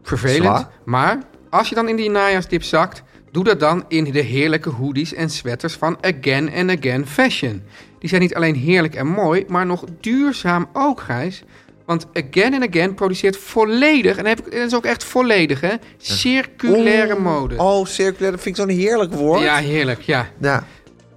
D: vervelend.
A: Zwaar.
D: Maar als je dan in die najaarsdip zakt, doe dat dan in de heerlijke hoodies en sweaters van Again and Again Fashion. Die zijn niet alleen heerlijk en mooi, maar nog duurzaam ook, Gijs. Want Again and Again produceert volledig, en dan heb ik, en dat is ook echt volledig, hè, circulaire
A: Oeh,
D: mode.
A: Oh, circulair. Dat vind ik zo'n heerlijk woord.
D: Ja, heerlijk, ja.
A: Ja.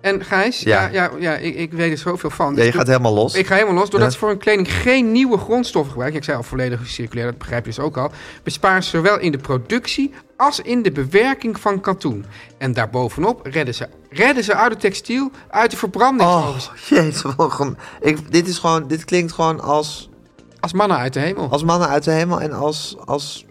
D: En Gijs, ja,
A: Ja.
D: ja, ja, ik, ik weet er zoveel van.
A: Ja,
D: Dus
A: je gaat helemaal los.
D: Ik ga helemaal los. Doordat
A: Ja.
D: ze voor hun kleding geen nieuwe grondstoffen gebruiken. Ik zei al volledig circulair, dat begrijp je dus ook al. Besparen ze zowel in de productie als in de bewerking van katoen. En daarbovenop redden ze, redden ze uit het textiel, uit de verbranding.
A: Oh, jezus. wat een- Ik, dit, is gewoon, dit klinkt gewoon als,
D: Als mannen uit de hemel.
A: als mannen uit de hemel en als, als...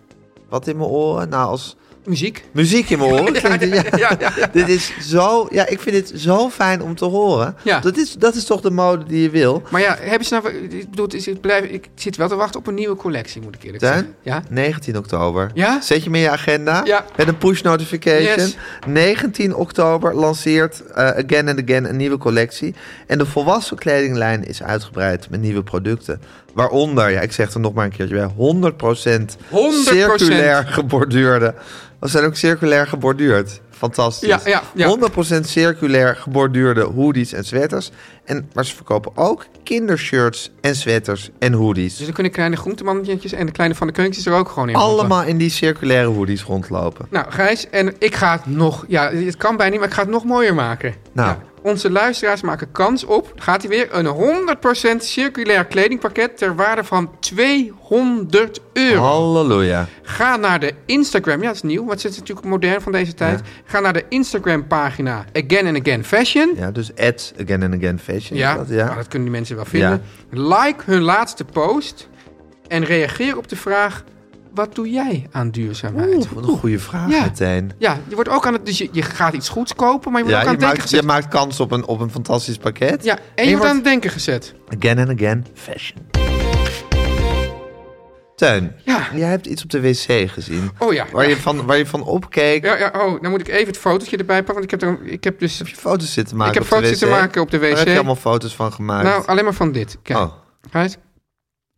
A: Wat in mijn oren? Nou, als
D: muziek.
A: muziek in mijn oren. Klinkt het- ja.
D: ja, ja, ja.
A: Dit is zo... Ja, ik vind dit zo fijn om te horen.
D: Ja.
A: Dat, is, dat is toch de mode die je wil?
D: Maar ja, hebben ze nou... Ik bedoel, het is, ik, blijf, ik zit wel te wachten op een nieuwe collectie, moet ik eerlijk
A: Tuin?
D: zeggen. Ja?
A: 19 oktober.
D: Ja?
A: Zet je hem in je agenda
D: Ja.
A: met een push notification.
D: Yes.
A: 19 oktober lanceert eh, Again and Again een nieuwe collectie. En de volwassen kledinglijn is uitgebreid met nieuwe producten. Waaronder, ja, ik zeg er nog maar een keertje bij, 100%,
D: 100%.
A: circulair geborduurde. We zijn ook circulair geborduurd. Fantastisch.
D: Ja, ja, ja.
A: 100% circulair geborduurde hoodies en sweaters. En, maar ze verkopen ook kindershirts en sweaters en hoodies.
D: Dus dan kunnen kleine groentemannetjes en de kleine van de keuntjes er ook gewoon in.
A: Allemaal in die circulaire hoodies rondlopen.
D: Nou, Gijs, en ik ga het nog... Ja, het kan bijna niet, maar ik ga het nog mooier maken.
A: Nou.
D: Ja, onze luisteraars maken kans op, gaat hij weer, een 100% circulair kledingpakket ter waarde van 200 euro.
A: Oh. Halleluja.
D: Ga naar de Instagram, ja, dat is nieuw, want het is natuurlijk modern van deze tijd. Ga naar de Instagram-pagina Again and Again Fashion.
A: Ja, dus ads again and again fashion.
D: Ja,
A: is
D: dat,
A: dat, ja.
D: dat kunnen die mensen wel vinden. Like hun laatste post en reageer op de vraag... Wat doe jij aan duurzaamheid?
A: Oeh, wat een goede vraag
D: Ja.
A: meteen.
D: Ja, je wordt ook aan het. Dus je, je gaat iets goeds kopen, maar je wordt
A: Ja,
D: ook aan
A: je
D: het denken
A: maakt, je
D: gezet.
A: maakt kans op een, op een fantastisch pakket.
D: Ja, en je wordt aan het denken gezet.
A: Again and again fashion. Teun,
D: Ja.
A: jij hebt iets op de wc gezien.
D: Oh ja.
A: Waar, je van, waar je van opkeek.
D: Ja, ja, oh, dan moet ik even het fotootje erbij pakken. Want ik heb, er, een- ik heb dus.
A: Heb je foto's zitten maken
D: Ik heb
A: op de
D: foto's
A: wc?
D: zitten maken op de
A: Waar
D: wc.
A: heb je allemaal foto's van gemaakt?
D: Nou, alleen maar van dit. Kijk,
A: Oh.
D: Gijs,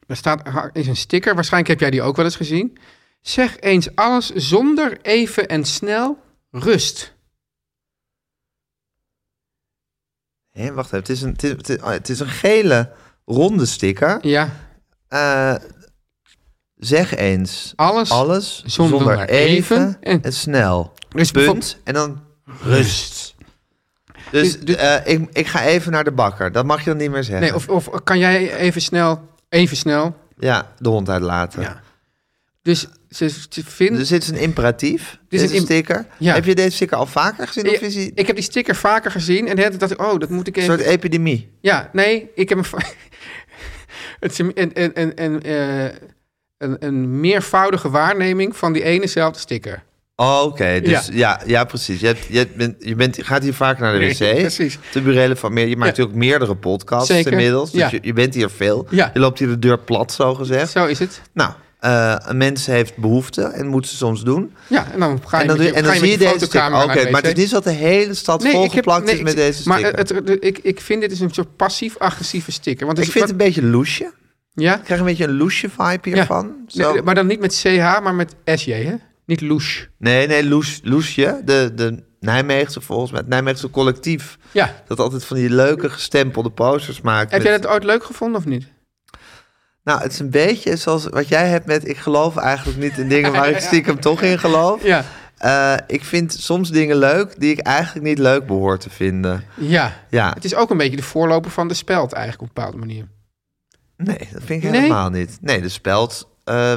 D: Er staat, is een sticker. Waarschijnlijk heb jij die ook wel eens gezien. Zeg eens alles zonder even en snel rust.
A: Hé, wacht even, het is, een, het, is, het is- oh, het is een gele ronde sticker.
D: Ja,
A: Eh, zeg eens
D: alles.
A: alles
D: zonder
A: zonder,
D: even
A: even,
D: en-
A: en, snel.
D: Dus bijvoorbeeld-
A: Punt en dan rust. Dus eh, ik, ik ga even naar de bakker. Dat mag je dan niet meer zeggen.
D: Nee, of, of kan jij even snel, even snel.
A: Ja, de hond uitlaten.
D: Ja. Dus ze, ze vinden...
A: Dus dit is een imperatief. Dit is
D: een
A: een
D: im-
A: sticker.
D: Ja.
A: Heb je deze sticker al vaker gezien? Of
D: Ja,
A: is die
D: Ik heb die sticker vaker gezien en de hele tijd dacht ik, oh, dat moet ik
A: een
D: even...
A: soort epidemie?
D: Ja, nee, ik heb een... va- het is een, een, een, een, een, eh, een, een meervoudige waarneming van die enezelfde sticker.
A: Oh, Oké, dus ja. Ja, precies. Je, hebt- je, hebt- bent, je, bent, je gaat hier vaak naar de
D: Nee,
A: wc.
D: precies.
A: De burelen van meer. Je maakt
D: Ja.
A: ook meerdere podcasts
D: Zeker,
A: inmiddels. Dus
D: ja.
A: je, je bent hier veel.
D: Ja.
A: Je loopt hier de deur plat, zo gezegd.
D: Zo is het.
A: Nou, eh, een mens heeft behoefte en moet ze soms doen.
D: Ja, en dan ga je
A: en dan,
D: met
A: doe
D: je,
A: je, en
D: ga
A: dan
D: je
A: zie je
D: met je
A: deze sticker.
D: fotocamera
A: Oké,
D: naar de
A: maar het
D: wc.
A: is niet zo dat de hele stad
D: ik heb-
A: volgeplakt is
D: ik-
A: met deze
D: Maar
A: sticker.
D: het, het- ik, ik vind dit is een soort passief-agressieve sticker. Want het
A: ik
D: is,
A: vind het een beetje loesje.
D: Ja?
A: Ik krijg een beetje een loesje vibe hiervan.
D: Nee,
A: Zo.
D: maar dan niet met CH, maar met SJ, hè? Niet louche.
A: Nee, nee, Loes, Loesje, de, de Nijmeegse volgens mij, het Nijmeegse collectief.
D: Ja.
A: Dat altijd van die leuke gestempelde posters maakt.
D: Heb
A: met-
D: jij dat ooit leuk gevonden of niet?
A: Nou, het is een beetje zoals wat jij hebt met ik geloof eigenlijk niet in dingen waar ik stiekem toch in geloof.
D: Ja.
A: Eh, ik vind soms dingen leuk die ik eigenlijk niet leuk behoor te vinden.
D: Ja.
A: Ja,
D: Het is ook een beetje de voorloper van de speld eigenlijk op een bepaalde manier.
A: nee, dat vind ik
D: Nee?
A: helemaal niet. Nee, de speld eh,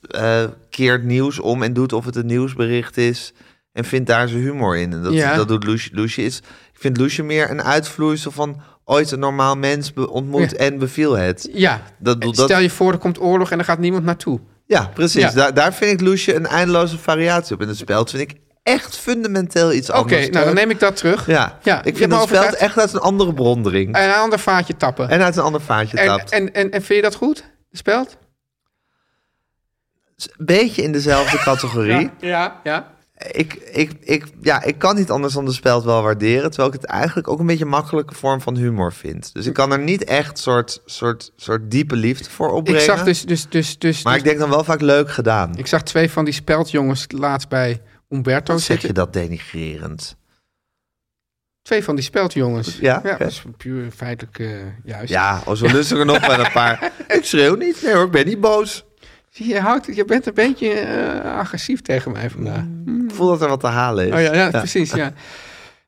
A: eh, keert nieuws om en doet of het een nieuwsbericht is en vindt daar zijn humor in. En dat,
D: Ja.
A: dat doet Loesje. Loesje is, ik vind Loesje meer een uitvloeisel van ooit een normaal mens be- ontmoet
D: Ja.
A: en beviel het.
D: Ja.
A: Dat, dat,
D: Stel je voor, er komt oorlog en er gaat niemand naartoe.
A: Ja, precies.
D: Ja.
A: Daar, daar vind ik Loesje een eindeloze variatie op. En het speld vind ik echt fundamenteel iets
D: Oké,
A: anders.
D: nou dan neem ik dat terug.
A: Ja,
D: Ja, je
A: ik
D: hebt
A: vind
D: me
A: het speld
D: overtuigd.
A: echt uit een andere bron drinkt.
D: En een ander vaatje tappen.
A: En uit een ander vaatje
D: Eh, en,
A: tapt.
D: en, en, en vind je dat goed, de speld?
A: Dus Een beetje in dezelfde categorie.
D: Ja. Ja.
A: Ik, ik, ik, ja, ik kan niet anders dan de speld wel waarderen. Terwijl ik het eigenlijk ook een beetje een makkelijke vorm van humor vind. Dus ik kan er niet echt soort, soort, soort diepe liefde voor
D: Ik
A: opbrengen.
D: zag dus, dus, dus, dus,
A: maar ik denk dan wel vaak leuk gedaan.
D: Ik zag twee van die speldjongens laatst bij Umberto
A: Hoe zeg
D: zitten.
A: je dat denigrerend?
D: Twee van die speldjongens.
A: Ja, oké.
D: dat is puur feitelijk eh, juist.
A: Ja, oh, zo lustig er nog wel een paar. Ik schreeuw niet. Nee hoor, ik ben niet boos.
D: Zie Je, houdt, je bent een beetje eh, agressief tegen mij vandaag.
A: Ik voel dat er wat te halen is.
D: Oh ja, ja, precies, ja.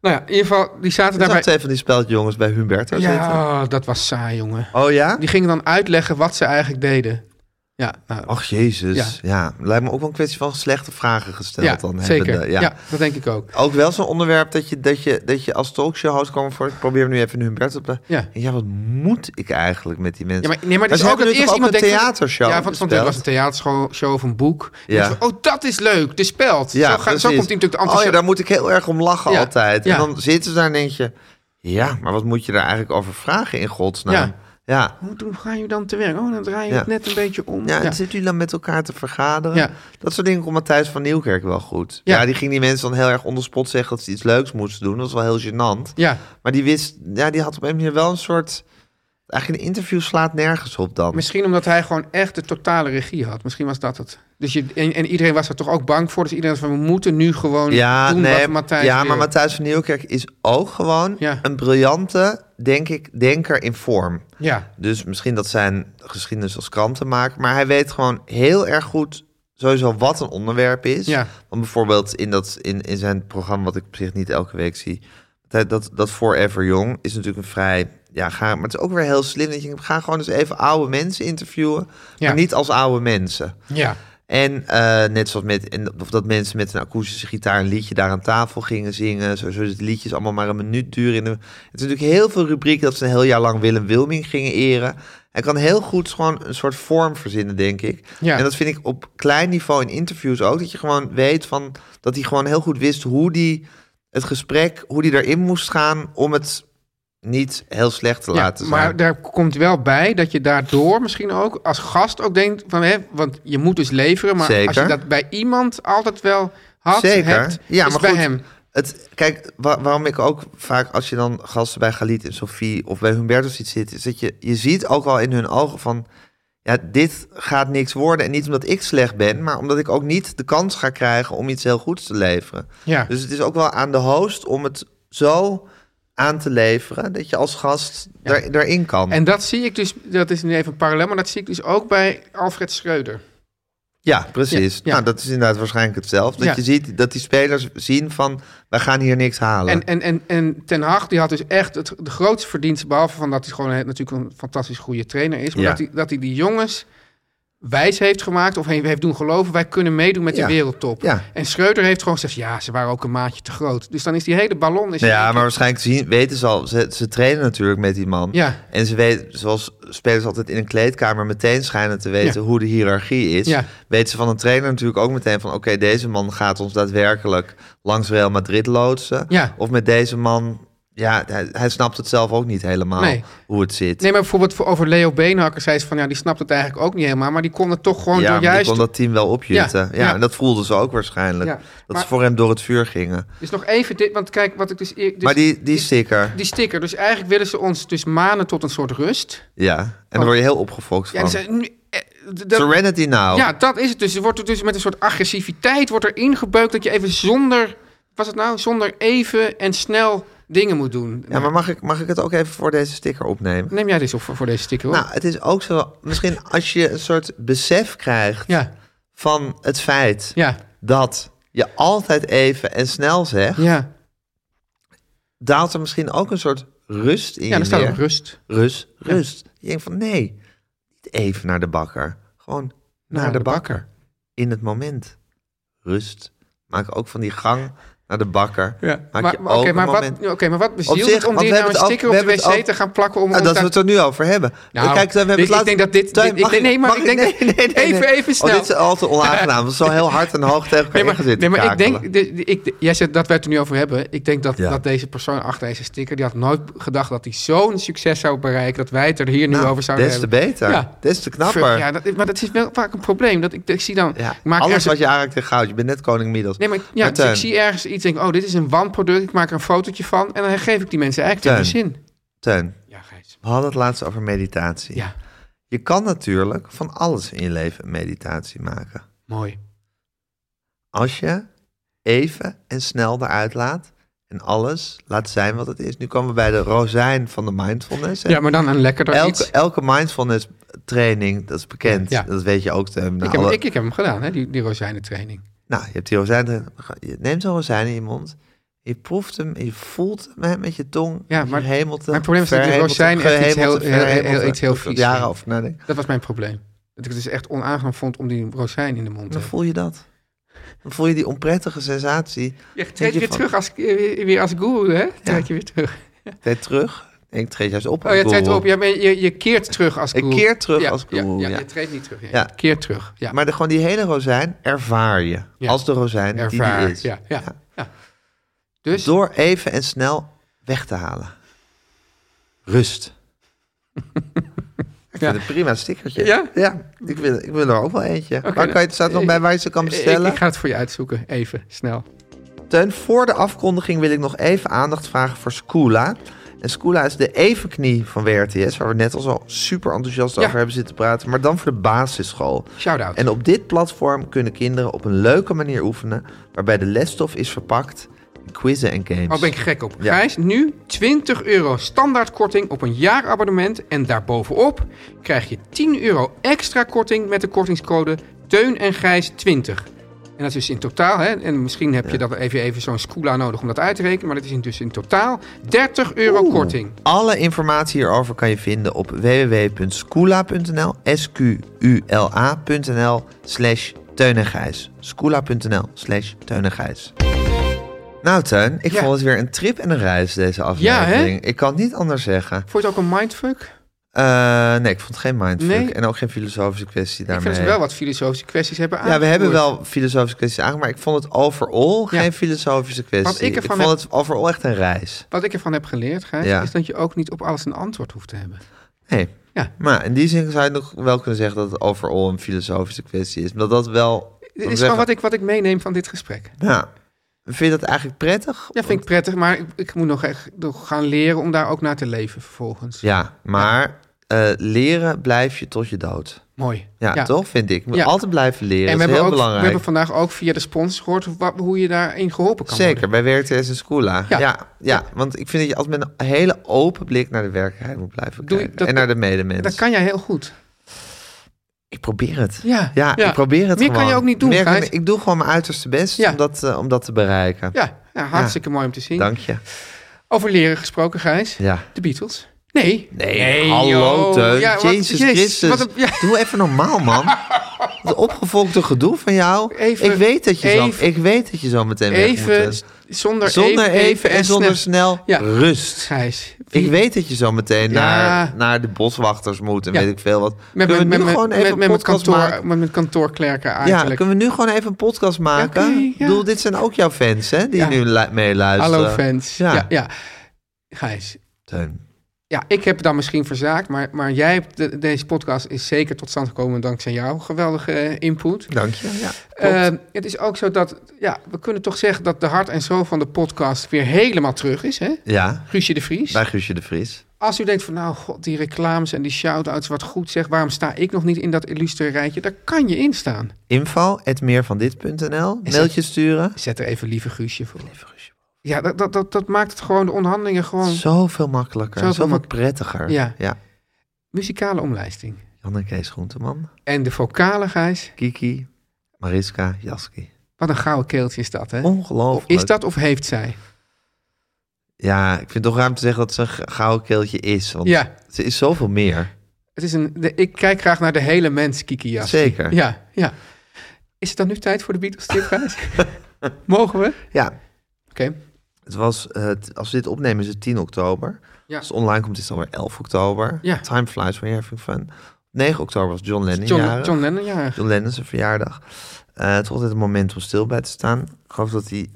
D: Nou ja, in ieder geval, die zaten
A: Er zag
D: daarbij...
A: twee van die speldjongens bij Humberto zitten.
D: Ja, oh, dat was saai, jongen.
A: Oh ja?
D: Die gingen dan uitleggen wat ze eigenlijk deden. Ja, nou,
A: Ach jezus. Ja. lijkt me ook wel een kwestie van slechte vragen gesteld.
D: ja
A: dan
D: zeker.
A: hebbende.
D: ja.
A: Ja.
D: dat denk ik ook.
A: Ook wel zo'n onderwerp dat je, dat je, dat je als talkshow host kwam voor. Ik probeer nu even een Humberto te
D: Ja.
A: ja, wat moet ik eigenlijk met die mensen?
D: Ja, maar, nee, maar het
A: ze
D: is ook
A: hebben
D: dat
A: nu
D: eerst
A: toch
D: iemand
A: ook een
D: denkt... van-
A: theatershow
D: Ja, want, want het
A: besteld?
D: was een theatershow show of een boek.
A: Ja.
D: Ja. oh, dat is leuk, de speld.
A: Ja,
D: zo, ga- zo
A: precies.
D: komt hij natuurlijk de
A: Oh ja,
D: enthousiasme.
A: daar moet ik heel erg om lachen
D: Ja,
A: altijd. En
D: ja.
A: dan zitten ze daar en denk je... Ja, maar wat moet je daar eigenlijk over vragen in godsnaam?
D: Ja.
A: Ja, ja.
D: Hoe doen- ga je dan te werk? Oh, dan draai je
A: Ja.
D: het net een beetje om.
A: en
D: ja.
A: zitten jullie dan met elkaar te vergaderen?
D: Ja.
A: Dat soort dingen kon Matthijs van Nieuwkerk wel goed.
D: Ja.
A: Ja. die ging die mensen dan heel erg onder spot zeggen... dat ze iets leuks moesten doen. Dat was wel heel gênant.
D: Ja.
A: Maar die wist... Ja, die had op een manier wel een soort... Eigenlijk een interview slaat nergens op dan.
D: Misschien omdat hij gewoon echt de totale regie had. Misschien was dat het. Dus je, en, en iedereen was er toch ook bang voor. Dus iedereen was van, we moeten nu gewoon
A: Ja,
D: doen
A: nee,
D: wat Matthijs
A: ja
D: wil.
A: maar Matthijs van Nieuwkerk is ook gewoon...
D: Ja.
A: een briljante, denk ik, denker in vorm.
D: Ja,
A: Dus misschien dat zijn geschiedenis als krantenmaker. Maar hij weet gewoon heel erg goed sowieso wat een onderwerp is.
D: Ja.
A: Want bijvoorbeeld in, dat, in, in zijn programma, wat ik op zich niet elke week zie... Dat, dat, dat Forever Young is natuurlijk een vrij... Ja, ga, maar het is ook weer heel slim dat je denkt, ga gewoon eens even oude mensen interviewen.
D: Ja.
A: Maar niet als oude mensen.
D: ja,
A: En eh, net zoals met, en of dat mensen met een akoestische gitaar een liedje daar aan tafel gingen zingen. Sowieso dat liedjes allemaal maar een minuut duren. In de, het is natuurlijk heel veel rubrieken dat ze een heel jaar lang Willem Wilming gingen eren. Hij kan heel goed gewoon een soort vorm verzinnen, denk ik.
D: Ja.
A: En dat vind ik op klein niveau in interviews ook. Dat je gewoon weet van, dat hij gewoon heel goed wist hoe die het gesprek, hoe die erin moest gaan om het niet heel slecht te
D: ja.
A: laten zijn.
D: Maar daar komt wel bij dat je daardoor misschien ook als gast ook denkt van... Hè, want je moet dus leveren. Maar als je
A: Zeker.
D: dat bij iemand altijd wel had,
A: Zeker.
D: hebt,
A: Ja,
D: is
A: maar
D: bij
A: goed.
D: hem.
A: Het, kijk, wa- waarom ik ook vaak als je dan gasten bij Galit en Sophie of bij Humberto ziet zitten, is dat je, je ziet ook al in hun ogen van, ja, dit gaat niks worden. En niet omdat ik slecht ben, maar omdat ik ook niet de kans ga krijgen om iets heel goeds te leveren.
D: Ja.
A: Dus het is ook wel aan de host om het zo aan te leveren dat je als gast daar, daarin kan.
D: En dat zie ik dus, dat is nu even een parallel... maar dat zie ik dus ook bij Alfred Schreuder.
A: Ja, precies.
D: Ja, ja.
A: Nou, dat is inderdaad waarschijnlijk hetzelfde. Dat
D: Ja.
A: je ziet dat die spelers zien van, we gaan hier niks halen.
D: En, en, en, en Ten Hag die had dus echt het, de grootste verdienste... behalve van dat hij gewoon een- natuurlijk een fantastisch goede trainer is... maar
A: Ja.
D: dat, hij, dat hij die jongens wijs heeft gemaakt of heeft heeft doen geloven, wij kunnen meedoen met
A: Ja.
D: de wereldtop.
A: Ja.
D: En Schreuder heeft gewoon gezegd, ja, ze waren ook een maatje te groot. Dus dan is die hele ballon... Is
A: Ja, maar waarschijnlijk zien, weten ze al. Ze, ze trainen natuurlijk met die man.
D: Ja.
A: En ze weten, zoals spelers altijd in een kleedkamer meteen schijnen te weten hoe de hiërarchie is.
D: Ja.
A: Weten ze van een trainer natuurlijk ook meteen van: oké, deze man gaat ons daadwerkelijk langs Real Madrid loodsen.
D: Ja.
A: Of met deze man, ja, hij, hij snapt het zelf ook niet helemaal
D: Nee.
A: hoe het zit.
D: Nee, maar bijvoorbeeld voor, over Leo Beenhakker zei ze van... ja, die snapt het eigenlijk ook niet helemaal... maar die kon het toch gewoon
A: ja,
D: door
A: maar die
D: juist...
A: kon dat team wel opjutten. Ja,
D: Ja, ja.
A: en dat voelden ze ook waarschijnlijk.
D: Ja,
A: dat
D: maar-
A: ze voor hem door het vuur gingen.
D: Dus nog even dit, want kijk wat ik dus... eer- dus
A: maar die, die sticker,
D: die sticker, dus eigenlijk willen ze ons dus manen tot een soort rust.
A: ja. En daar word je heel opgefokt
D: Oh. Ja,
A: van.
D: en ze- nu- eh, d- dat-
A: Serenity now.
D: ja, dat is het dus. Er wordt er dus met een soort agressiviteit wordt er ingebeukt... dat je even zonder, was het nou, zonder even en snel dingen moet doen. Nou,
A: Ja, maar mag ik, mag ik het ook even voor deze sticker opnemen?
D: Neem jij dit op voor voor deze sticker, hoor.
A: Nou, het is ook zo. Misschien als je een soort besef krijgt
D: ja,
A: van het feit
D: ja,
A: dat je altijd even en snel zegt,
D: ja.
A: daalt er misschien ook een soort rust in.
D: Ja, dan staat
A: neer.
D: ook rust.
A: Rust, rust. Je denkt van nee, niet even naar de bakker. Gewoon naar, de, bakker. In het moment. Rust. Maak ook van die gang naar de bakker.
D: Ja,
A: Maak
D: maar,
A: je
D: maar,
A: ook
D: oké,
A: een
D: maar, wat,
A: moment.
D: ja, oké, maar wat bezielt
A: zich,
D: het om
A: want
D: die
A: we
D: nou
A: hebben
D: een
A: het ook-
D: sticker
A: we
D: op de
A: hebben het
D: wc
A: ook-
D: te gaan plakken om...
A: Ja,
D: om
A: Nou, dat we
D: daar-
A: het er nu over hebben.
D: Nou,
A: Kijk, we hebben
D: dit-
A: het
D: ik
A: laatst-
D: denk dat dit-
A: Tuin,
D: dit- ik
A: mag
D: denk- nee, maar
A: mag
D: ik denk dat- even, even
A: Oh,
D: snel.
A: dit is altijd onaangenaam. We zijn heel hard en hoog tegen elkaar
D: Nee, maar,
A: ingezet.
D: nee, maar ik denk, de- de- ik, de- jij zegt dat wij het er nu over hebben. Ik denk dat,
A: Ja.
D: dat deze persoon achter deze sticker, die had nooit gedacht dat hij zo'n succes zou bereiken, dat wij het er hier nu over zouden
A: Nou, des te
D: hebben.
A: beter.
D: Ja.
A: Des te knapper.
D: Ver- Ja,
A: Ja,
D: dat, maar dat is wel vaak een probleem. Dat ik, ik zie dan, ik maak
A: Alles
D: ergens,
A: wat je aanraakt in goud. Je bent net koning Midas.
D: nee, maar, ja,
A: Maar
D: dus ik
A: Teun,
D: zie ergens iets, denk ik, oh, dit is een wanproduct, ik maak er een fotootje van en dan geef ik die mensen eigenlijk
A: Teun.
D: in de zin.
A: Teun,
D: Ja, Gijs.
A: we hadden het laatst over meditatie.
D: Ja,
A: Je kan natuurlijk van alles in je leven een meditatie maken.
D: mooi.
A: Als je even en snel eruit laat en alles laat zijn wat het is. Nu komen we bij de rozijn van de mindfulness. hè?
D: Ja, maar dan een lekkerder
A: elke,
D: iets.
A: elke mindfulness training, dat is bekend.
D: Ja.
A: Dat weet je ook. Teun. Nou,
D: Ik heb,
A: alle-
D: ik, ik heb hem gedaan, hè, die, die rozijnentraining.
A: Nou, je hebt die rozijn erin. Je neemt zo'n rozijn in je mond. Je proeft hem, je voelt hem hè, met je tong.
D: Ja,
A: met
D: maar
A: je hemelte.
D: mijn probleem is dat die
A: verhemelte,
D: rozijn echt iets heel-
A: gehemelte,
D: heel- heel- heel-
A: verhemelte.
D: iets heel
A: Ik heb er
D: vies
A: jaren
D: van.
A: over nadenken.
D: Dat was mijn probleem. Dat ik het dus echt onaangenaam vond om die rozijn in de mond te
A: Dan
D: hebben.
A: voel je dat. Dan voel je die onprettige sensatie.
D: Je treedt
A: Denk je
D: weer
A: van-
D: terug als, eh, weer als guru, hè? Treed je weer terug.
A: Tijd terug. Nee, Ik treed juist op.
D: Oh,
A: als
D: je treedt
A: guru.
D: op. Je, bent- je, je keert terug als
A: Ik
D: guru.
A: keer terug als guru,
D: Ja,
A: ja.
D: je treedt niet terug. Ja,
A: Ja.
D: Je keert terug. Ja.
A: Maar de, gewoon die hele rozijn ervaar je.
D: Ja.
A: Als de rozijn die
D: Ervaar.
A: die is.
D: Ja, ja, ja. Dus,
A: Door even en snel weg te halen. Rust. Ik
D: Ja.
A: vind het een prima stickertje.
D: Ja?
A: ik, wil, ik wil er ook wel eentje. waar
D: nou,
A: kan je, het staat nog
D: eh,
A: bij waar je ze kan
D: ik,
A: bestellen?
D: ik ga het voor je uitzoeken. Even, snel.
A: Teun, voor de afkondiging wil ik nog even aandacht vragen voor Skoola. En Skoola is de evenknie van WRTS, waar we net al zo super enthousiast
D: Ja.
A: over hebben zitten praten. Maar dan voor de basisschool.
D: Shout-out.
A: En op dit platform kunnen kinderen op een leuke manier oefenen, waarbij de lesstof is verpakt in quizzen en games.
D: Oh, ben ik gek op.
A: Ja.
D: Gijs, nu 20 euro standaard korting op een jaarabonnement. En daarbovenop krijg je 10 euro extra korting met de kortingscode Teun en Gijs 20. En dat is dus in totaal, hè, en misschien heb je dat even, even zo'n Scoola nodig om dat uit te rekenen, maar dat is dus in totaal 30 euro korting.
A: Alle informatie hierover kan je vinden op www.skoola.nl, s-q-u-l-a.nl, slash Teun en Gijs. Skoola.nl, slash Teun en Gijs. Nou Teun, ik
D: Ja.
A: vond het weer een trip en een reis deze aflevering. ik kan het niet anders zeggen.
D: Vond je het ook een mindfuck?
A: Eh, nee, ik vond het geen mindfuck
D: Nee.
A: en ook geen filosofische kwestie
D: Ik
A: daarmee.
D: vind dat ze wel wat filosofische kwesties hebben
A: Ja,
D: aangevoerd.
A: we hebben wel filosofische kwesties aangemaakt, maar ik vond het overall
D: Ja.
A: geen filosofische kwestie.
D: Wat ik ervan
A: vond het overall echt een reis.
D: Wat ik ervan heb geleerd, Gijs,
A: Ja.
D: is dat je ook niet op alles een antwoord hoeft te hebben.
A: Nee.
D: Ja.
A: Maar in die zin zou je nog wel kunnen zeggen dat het overal een filosofische kwestie is. Omdat dat wel...
D: Dit is gewoon wat ik, wat ik meeneem van dit gesprek.
A: Ja. Vind je dat eigenlijk prettig?
D: Ja, vind ik prettig, maar ik, ik moet nog echt nog gaan leren om daar ook naar te leven vervolgens.
A: Ja, maar eh, leren blijf je tot je dood.
D: Mooi.
A: Ja, toch? Vind ik. Je moet
D: Ja.
A: altijd blijven leren.
D: En we
A: dat is
D: hebben,
A: heel
D: ook, we
A: belangrijk.
D: hebben vandaag ook via de sponsors gehoord wa- hoe je daarin geholpen kan
A: Zeker,
D: worden.
A: bij WRTS en Scoola. Ja.
D: Ja.
A: Ja, want ik vind dat je altijd met een hele open blik naar de werkelijkheid moet blijven
D: Doe je-
A: kijken.
D: dat-
A: en naar de medemens.
D: Dat kan jij heel goed.
A: Ik probeer het.
D: Ja,
A: ja,
D: ja.
A: ik probeer het
D: Meer kan
A: gewoon.
D: je ook niet doen,
A: Meer kan-
D: Gijs.
A: ik doe gewoon mijn uiterste best
D: Ja.
A: om, dat, eh, om dat te bereiken.
D: Ja, ja, hartstikke mooi om te zien.
A: Dank je.
D: Over leren gesproken, Gijs.
A: Ja.
D: De Beatles. Nee.
A: Nee, hallo
D: joh.
A: Teun.
D: Ja, wat-
A: Jezus
D: jezus,
A: Christus.
D: wat een- ja.
A: Doe even normaal, man. Dat opgevolgde gedoe van jou.
D: Even-
A: ik, weet dat je zo,
D: even-
A: ik weet dat je zo meteen weg
D: Even,
A: moet.
D: zonder,
A: Zonder even, en zonder
D: snel.
A: snel.
D: Ja.
A: Rust.
D: Gijs,
A: Ik weet dat je zo meteen
D: Ja.
A: naar, naar de boswachters moet en
D: Ja.
A: weet ik veel wat.
D: met,
A: kunnen
D: met,
A: we
D: met,
A: nu
D: met,
A: gewoon
D: met,
A: even
D: met,
A: een
D: mijn
A: podcast
D: kantoor,
A: maken?
D: met mijn kantoorklerken
A: Ja,
D: eigenlijk.
A: kunnen we nu gewoon even een podcast maken?
D: oké, ja.
A: Ik bedoel, dit zijn ook jouw fans, hè? Die
D: Ja.
A: nu lu- meeluisteren.
D: Hallo fans. Ja.
A: Ja.
D: Ja, Gijs,
A: Teun.
D: ja, ik heb het dan misschien verzaakt, maar, maar jij, hebt de- deze podcast is zeker tot stand gekomen dankzij jouw geweldige eh, input.
A: Dank je. Ja.
D: Eh, het is ook zo dat, ja, we kunnen toch zeggen dat de hart en zo van de podcast weer helemaal terug is, hè?
A: ja,
D: Guusje de Vries.
A: bij Guusje de Vries.
D: Als u denkt van, nou god, die reclames en die shout-outs, wat goed zeg, waarom sta ik nog niet in dat illustre rijtje? Daar kan je in staan.
A: Info, meervandit.nl.
D: Is
A: Mailtje sturen.
D: Zet er even lieve Guusje voor. Ja, dat, dat, dat, dat maakt het gewoon de onderhandelingen gewoon
A: Zoveel makkelijker.
D: Hmm. Zoveel
A: Zoveel,
D: mak-
A: prettiger.
D: Ja.
A: ja.
D: muzikale omlijsting.
A: Jan en Kees Groenteman.
D: En de vocale, Gijs,
A: Kiki. Mariska. Jaski.
D: wat een gouden keeltje is dat, hè?
A: Ongelooflijk.
D: Is dat of heeft zij?
A: Ja, ik vind het toch ruim te zeggen dat ze een g- gouden keeltje is. Want
D: Ja.
A: ze is zoveel meer.
D: Het is een, de- ik kijk graag naar de hele mens, Kiki Jas.
A: Zeker.
D: Ja, ja. Is het dan nu tijd voor de Beatles tip, Gijs? Mogen we?
A: Ja.
D: Oké.
A: Het was, eh, t- als we dit opnemen is het 10 oktober.
D: Ja.
A: Als het online komt is het alweer 11 oktober.
D: Ja.
A: Time flies when you're having fun. 9 oktober was John Lennon
D: John,
A: jarig.
D: John Lennon, ja.
A: John Lennon zijn verjaardag. Eh het was altijd een moment om stil bij te staan. Ik geloof dat hij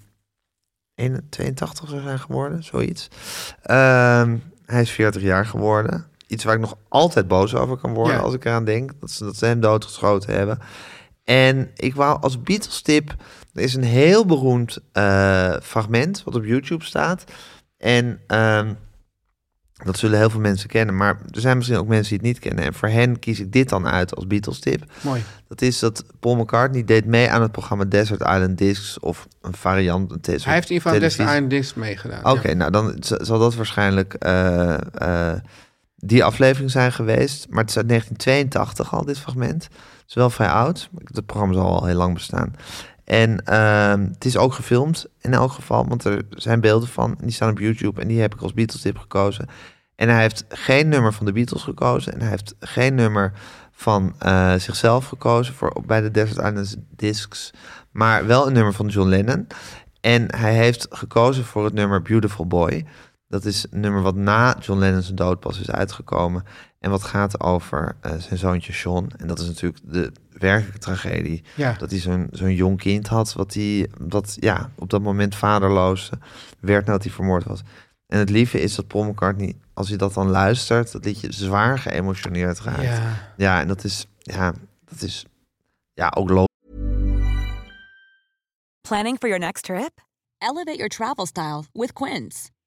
A: 81, 82 zou zijn geworden, zoiets. Ehm, hij is 40 jaar geworden. Iets waar ik nog altijd boos over kan worden
D: Ja.
A: als ik eraan denk. Dat ze, dat ze hem doodgeschoten hebben. En ik wou als Beatles tip... Er is een heel beroemd eh, fragment wat op YouTube staat. En ehm, dat zullen heel veel mensen kennen. Maar er zijn misschien ook mensen die het niet kennen. En voor hen kies ik dit dan uit als Beatles tip.
D: Mooi.
A: Dat is dat Paul McCartney deed mee aan het programma Desert Island Discs of een variant. Een te- soort
D: Hij heeft in ieder geval Des
A: televisie-
D: Iron Discs meegedaan.
A: Oké, nou dan z- zal dat waarschijnlijk eh, eh, die aflevering zijn geweest. Maar het is uit 1982 al, dit fragment. Het is wel vrij oud. maar Het programma zal al heel lang bestaan. En ehm, het is ook gefilmd in elk geval, want er zijn beelden van. En die staan op YouTube en die heb ik als Beatles tip gekozen. En hij heeft geen nummer van de Beatles gekozen. En hij heeft geen nummer van eh, zichzelf gekozen voor, op- bij de Desert Island Discs. Maar wel een nummer van John Lennon. En hij heeft gekozen voor het nummer Beautiful Boy. Dat is een nummer wat na John Lennon's dood pas is uitgekomen. En wat gaat over eh, zijn zoontje Sean. En dat is natuurlijk de werkelijke tragedie.
D: Ja.
A: Dat hij zo'n zo'n jong kind had. Wat hij wat, ja, op dat moment vaderloos eh, werd nadat hij vermoord was. En het lieve is dat Paul McCartney, als je dat dan luistert, dat liedje zwaar geëmotioneerd raakt. Ja,
D: Ja.
A: en dat is, ja, dat is ja, ook logisch.
I: Planning for your next trip? Elevate your travel style with Quince.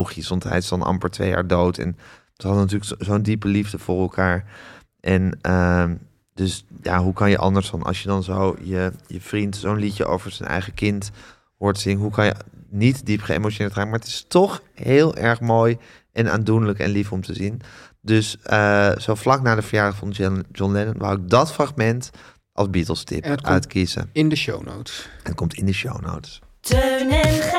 A: logisch, want hij is dan amper twee jaar dood. En ze hadden natuurlijk zo- zo'n diepe liefde voor elkaar. En ehm, dus ja, hoe kan je anders dan als je dan zo je, je vriend zo'n liedje over zijn eigen kind hoort zingen? Hoe kan je niet diep geëmotioneerd raken? Maar het is toch heel erg mooi en aandoenlijk en lief om te zien. Dus eh, zo vlak na de verjaardag van Jan- John Lennon wou ik dat fragment als Beatles
D: En dat
A: tip
D: komt-
A: uitkiezen.
D: In de show notes.
A: En het komt in de show notes.
G: Teun en Gijs.